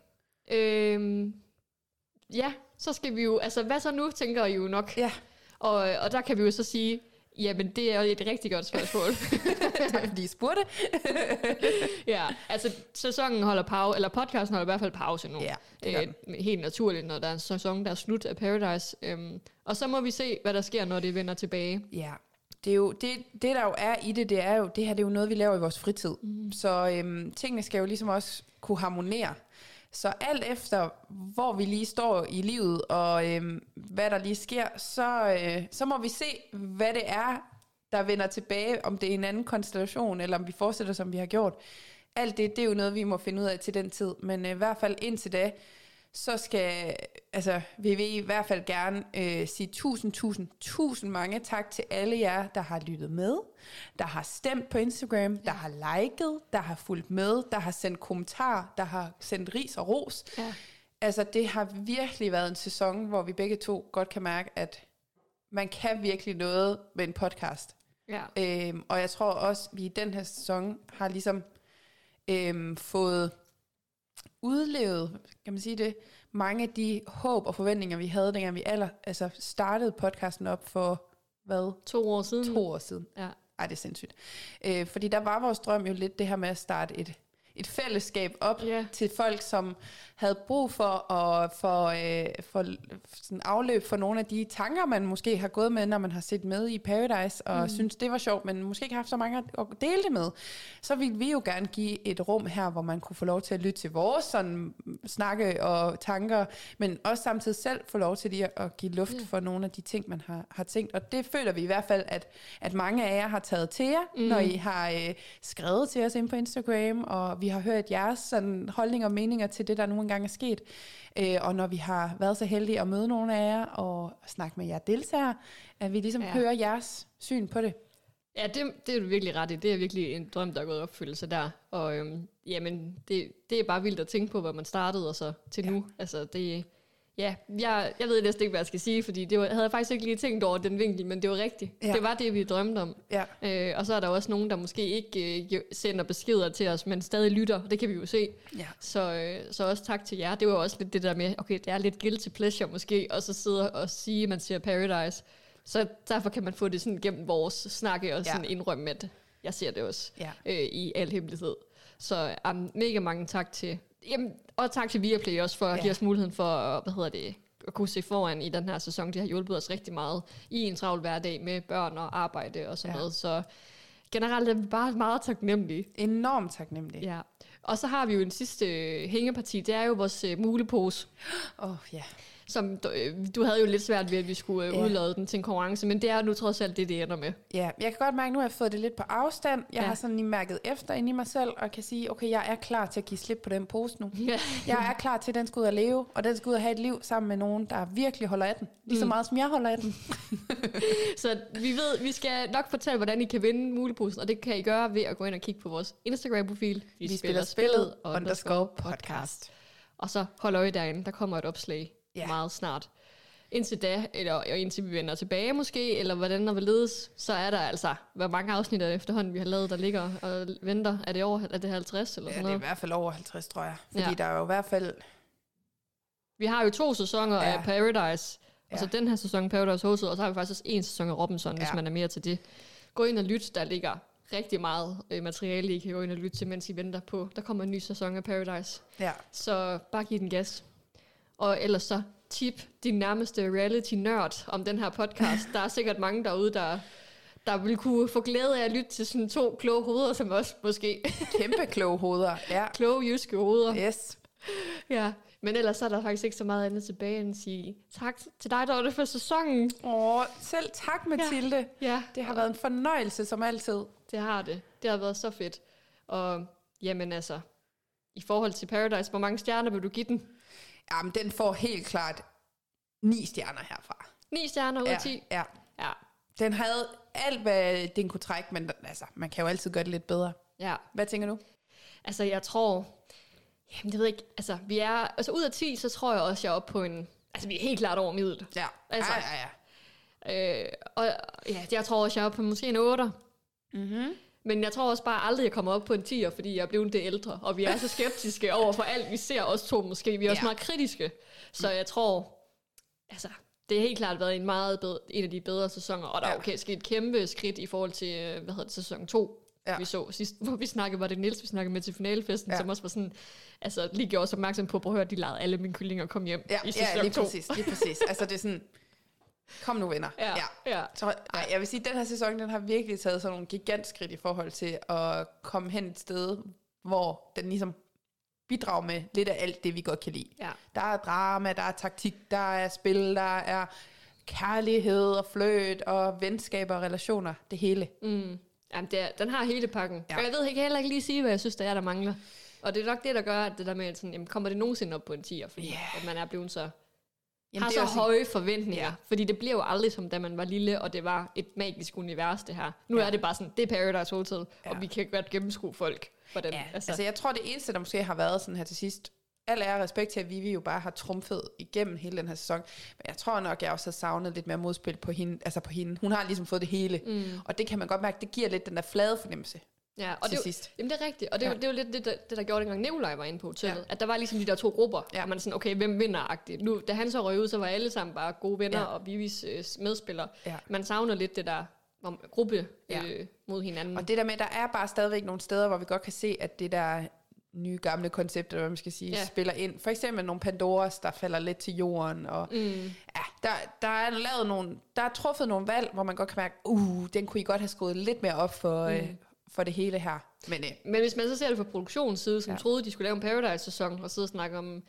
S1: Øhm, ja, så skal vi jo, altså hvad så nu, tænker I jo nok.
S2: Ja.
S1: Og, og der kan vi jo så sige, jamen det er jo et rigtig godt spørgsmål.
S2: <laughs> Tak fordi I spurgte.
S1: ja, altså sæsonen holder pause, eller podcasten holder i hvert fald pause nu. Øh,
S2: Ja, det gør
S1: helt naturligt, når der er en sæson, der er slut af Paradise. Øhm, og så må vi se, hvad der sker, når det vender tilbage.
S2: Ja, det, er jo, det, det der jo er i det, det er jo, det her det er jo noget, vi laver i vores fritid. Mm. Så øhm, tingene skal jo ligesom også kunne harmonere. Så alt efter, hvor vi lige står i livet, og øhm, hvad der lige sker, så, øh, så må vi se, hvad det er, der vender tilbage, om det er en anden konstellation, eller om vi fortsætter, som vi har gjort. Alt det, det er jo noget, vi må finde ud af til den tid. Men øh, i hvert fald indtil da, så skal altså, vi vil i hvert fald gerne øh, sige tusind, tusind, tusind mange tak til alle jer, der har lyttet med, der har stemt på Instagram, der har liket, der har fulgt med, der har sendt kommentarer, der har sendt ris og ros.
S1: Ja.
S2: Altså, det har virkelig været en sæson, hvor vi begge to godt kan mærke, at man kan virkelig noget med en podcast.
S1: Ja.
S2: Øhm, og jeg tror også, vi i den her sæson har ligesom øhm, fået udlevet, kan man sige det, mange af de håb og forventninger, vi havde, dengang vi aller, altså startede podcasten op for, hvad,
S1: To år siden.
S2: to år siden.
S1: Ja.
S2: Ej, det er sindssygt. Øh, fordi der var vores drøm jo lidt det her med at starte et, et fællesskab op
S1: Ja.
S2: til folk, som havde brug for at for, øh, for sådan afløb for nogle af de tanker, man måske har gået med, når man har set med i Paradise, og mm. synes, det var sjovt, men måske ikke har haft så mange at at dele det med. Så ville vi jo gerne give et rum her, hvor man kunne få lov til at lytte til vores sådan, snakke og tanker, men også samtidig selv få lov til lige at, at give luft for nogle af de ting, man har, har tænkt. Og det føler vi i hvert fald, at, at mange af jer har taget til jer, mm. når I har øh, skrevet til os ind på Instagram, og vi har hørt jeres sådan, holdninger og meninger til det, der nogle gange er sket. Øh, og når vi har været så heldige at møde nogle af jer og snakke med jer deltagere, at vi ligesom
S1: Ja.
S2: ja. hører jeres syn på det.
S1: Ja, det, det er du virkelig ret i. Det er virkelig en drøm, der er gået i opfyldelse der. Og øhm, jamen, det, det er bare vildt at tænke på, hvor man startede og så til ja. nu. Altså, det, ja, jeg, jeg ved næsten ikke, hvad jeg skal sige, fordi det var, havde jeg faktisk ikke lige tænkt over den vinkel, men det var rigtigt. Ja.
S2: Ja.
S1: Det var det, vi drømte om.
S2: Ja.
S1: Øh, og så er der jo også nogen, der måske ikke øh, jo- sender beskeder til os, men stadig lytter. Det kan vi jo se.
S2: Ja.
S1: Så, øh, så også tak til jer. Det var jo også lidt det der med, okay, det er lidt guilty pleasure måske, og så sidde og sige, at man ser Paradise. Så derfor kan man få det sådan gennem vores snakke og sådan
S2: Ja.
S1: indrømme, at jeg ser det også
S2: Ja.
S1: øh, i al hemmelighed. Så um, mega mange tak til... Jamen, og tak til Viaplay også for at
S2: Ja.
S1: give os muligheden for at, hvad hedder det, at kunne se foran i den her sæson. Det har hjulpet os rigtig meget i en travl hverdag med børn og arbejde og sådan ja.
S2: Ja.
S1: noget. Så generelt er vi bare meget taknemmelige.
S2: Enormt taknemmelig.
S1: Ja. Og så har vi jo en sidste øh, hængeparti. Det er jo vores øh, mulepose,
S2: Åh, oh, ja.
S1: som du, øh, du havde jo lidt svært ved, at vi skulle øh,
S2: Ja.
S1: udlade den til en konkurrence, men det er nu trods alt det, det ender med.
S2: Ja, jeg kan godt mærke, at nu har jeg fået det lidt på afstand. Jeg
S1: Ja.
S2: ja. har sådan lige mærket efter inde i mig selv, og kan sige, okay, jeg er klar til at give slip på den pose nu.
S1: Ja.
S2: Jeg er klar til, at den skal ud at leve, og den skal ud at have et liv sammen med nogen, der virkelig holder af den. Lige
S1: Mm.
S2: så meget, som jeg holder af den.
S1: <laughs> Så vi ved, vi skal nok fortælle, hvordan I kan vinde muleposen, og det kan I gøre ved at gå ind og kigge på vores Instagram-profil. Vi, Og så hold øje derinde, der kommer et opslag
S2: Ja.
S1: yeah. meget snart. Indtil da, eller og indtil vi vender tilbage måske, eller hvordan der vil ledes, så er der altså, hvor mange afsnit af efterhånden, vi har lavet, der ligger og venter. Er det over, er det 50 eller sådan
S2: Ja, det er i
S1: noget?
S2: hvert fald over 50, tror jeg. Fordi
S1: Ja.
S2: ja. der er jo i hvert fald...
S1: Vi har jo to sæsoner ja.
S2: Ja.
S1: af Paradise, og så
S2: Ja.
S1: den her sæson Paradise Hotel, og så har vi faktisk også en sæson af Robinson, ja. hvis
S2: Ja.
S1: man er mere til det. Gå ind og lyt, der ligger rigtig meget øh, materiale, I kan gå ind og lytte til, mens I venter på. Der kommer en ny sæson af Paradise.
S2: Ja.
S1: Så bare giv den gas. Og ellers så tip din nærmeste reality-nørd om den her podcast. Der er sikkert mange derude, der, der vil kunne få glæde af at lytte til sådan to kloge hoveder som os, måske. <laughs>
S2: Kæmpe kloge hoveder. Ja.
S1: kloge jyske hoveder.
S2: Yes.
S1: Ja. Men ellers så er der faktisk ikke så meget andet tilbage end at sige tak til dig, Dorte, for sæsonen.
S2: Åh, selv tak, Mathilde. Ja.
S1: Ja,
S2: Det har været en fornøjelse, som altid.
S1: det har det. Det har været så fedt. Og Jamen altså, i forhold til Paradise, hvor mange stjerner vil du give den?
S2: Jamen, den får helt klart ni stjerner herfra.
S1: 9 stjerner ud af 10?
S2: Ja, ja.
S1: Ja.
S2: Den havde alt, hvad den kunne trække, men den- altså, man kan jo altid gøre det lidt bedre.
S1: ja.
S2: Hvad tænker du?
S1: Altså, jeg tror... Jamen, det ved jeg ikke. Altså, vi er... Altså, ud af 10, så tror jeg også, jeg er oppe på en... Altså, vi er helt klart over middel.
S2: Ja,
S1: Altså-
S2: ja, Ah, ja, ja.
S1: Øh, og ja, jeg tror også, jeg er oppe på måske en 8.
S2: Mm-hmm.
S1: Men jeg tror også bare aldrig, jeg kommer op på en 10'er, fordi jeg er blevet det ældre. Og vi er så
S2: <laughs>
S1: skeptiske over for alt, vi ser os to måske. Vi er også
S2: Ja. Mm.
S1: meget kritiske. Så jeg tror... Altså, det har helt klart været en meget bedre, en af de bedre sæsoner. Og der er
S2: Ja.
S1: okay, sket et kæmpe skridt i forhold til, øh, hvad hedder det, sæson 2
S2: Ja.
S1: ja. vi så sidst, hvor vi snakkede, var det Niels, vi snakkede med til finalefesten,
S2: Ja.
S1: ja. som også var sådan, altså lige gjorde os opmærksom på, prøv at høre, de lejede alle mine kyllinger og kom hjem
S2: Ja,
S1: i sæson
S2: ja, lige
S1: 2.
S2: præcis, lige
S1: <laughs>
S2: præcis. Altså, det er sådan, kom nu venner.
S1: Ja, ja.
S2: Så, ej, jeg vil sige, at den her sæson, den har virkelig taget sådan nogle gigantskridt i forhold til at komme hen et sted, hvor den ligesom bidrager med lidt af alt det, vi godt kan lide.
S1: Ja.
S2: Der er drama, der er taktik, der er spil, der er kærlighed og fløt og venskaber og relationer. Det hele.
S1: Mm. Jamen, det er, den har hele pakken.
S2: Ja.
S1: Ja. Og jeg ved ikke heller ikke lige sige, hvad jeg synes, der er, der mangler. Og det er nok det, der gør, at det der med, at sådan, jamen, kommer det nogensinde op på en 10'er, fordi
S2: Ja.
S1: yeah. at man er blevet så, jamen,
S2: Jamen,
S1: har
S2: det er
S1: så
S2: også-
S1: høje forventninger.
S2: Ja.
S1: Ja. Fordi det bliver jo aldrig som, da man var lille, og det var et magisk univers, det her. Nu ja. er det bare sådan, det er Paradise Hotel, ja. og vi kan godt gennemskue folk. Hvordan,
S2: Ja, altså. altså jeg tror, det eneste, der måske har været sådan her til sidst, al ære og respekt til, at Vivi jo bare har trumfet igennem hele den her sæson, men jeg tror nok, jeg også har savnet lidt mere modspil på hende. Altså på hende. Hun har ligesom fået det hele, mm. og det kan man godt mærke, det giver lidt den der flade fornemmelse.
S1: Ja, og
S2: til
S1: det, er jo-
S2: sidst.
S1: Jamen, det er rigtigt, og det, ja.
S2: Ja.
S1: det er jo lidt det, der, det, der gjorde dengang Nikolaj var inde på hotellet,
S2: Ja.
S1: ja. at der var ligesom de der to grupper,
S2: Ja.
S1: ja. og man er sådan, okay, hvem vinder-agtigt. Nu, da han så røg ud, så var alle sammen bare gode venner
S2: Ja.
S1: ja. og Vivis øh, medspillere.
S2: Ja.
S1: Man savner lidt det der om, gruppe
S2: Ja.
S1: ja. øh, mod hinanden.
S2: Og det der med, der er bare stadigvæk nogle steder, hvor vi godt kan se, at det der nye gamle koncept, eller hvad man skal sige, ja.
S1: Ja.
S2: spiller ind. For eksempel nogle Pandoras, der falder lidt til jorden, og mm. ja, der, der er lavet nogle, der er truffet nogle valg, hvor man godt kan mærke, uh, den kunne I godt have skruet lidt mere op for, mm. øh, for det hele her. Men øh,
S1: Men hvis man så ser det fra produktionens side, som
S2: Ja.
S1: ja. troede, de skulle lave en Paradise-sæson og sidde og snakke om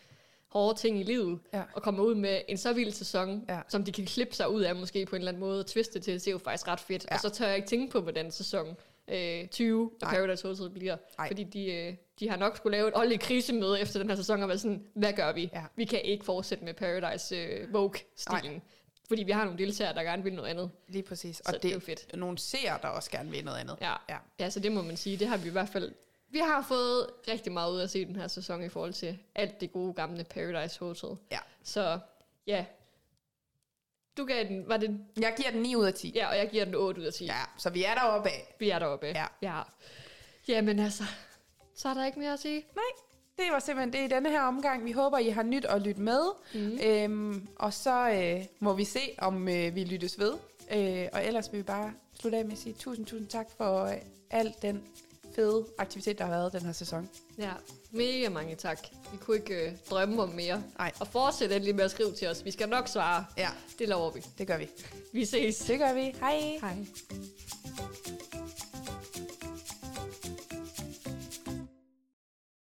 S1: hårde ting i livet,
S2: Ja.
S1: ja. og komme ud med en så vild sæson,
S2: Ja.
S1: ja. som de kan klippe sig ud af måske på en eller anden måde, og twiste til, det er jo faktisk ret fedt.
S2: Ja.
S1: Ja. Og så tør jeg ikke tænke på, hvordan sæson øh, 20 af
S2: Nej.
S1: Paradise Hotel bliver.
S2: Nej.
S1: Nej. Fordi de, øh, de har nok skulle lave et ordentligt krisemøde efter den her sæson, og være sådan, hvad gør vi?
S2: Ja.
S1: Vi kan ikke fortsætte med Paradise øh, Vogue-stilen. Fordi vi har nogle deltagere, der gerne vil noget andet.
S2: lige præcis.
S1: Så det er jo fedt.
S2: nogle seere, der også gerne vil noget andet.
S1: Ja.
S2: ja.
S1: Ja, så det må man sige. Det har vi i hvert fald... Vi har fået rigtig meget ud af at se den her sæson i forhold til alt det gode gamle Paradise Hotel.
S2: Ja.
S1: Så ja. Du gav den... Var det...
S2: Jeg giver den 9 ud af 10.
S1: Ja, og jeg giver den 8 ud af 10.
S2: ja så vi er deroppe af.
S1: Vi er deroppe.
S2: Ja.
S1: ja. Jamen altså, så er der ikke mere at sige.
S2: Det var simpelthen det i denne her omgang. Vi håber, I har nyt at lytte med. Mm. Øhm, og så øh, må vi se, om øh, vi lyttes ved. Øh, og ellers vil vi bare slutte af med at sige tusind, tusind tak for øh, al den fede aktivitet, der har været den her sæson.
S1: Ja, mega mange tak. Vi kunne ikke øh, drømme om mere.
S2: Nej.
S1: Og fortsæt endelig med at skrive til os. Vi skal nok svare.
S2: Ja,
S1: Det lover vi.
S2: det gør vi.
S1: Vi ses.
S2: Det gør vi. Hej.
S1: Hej.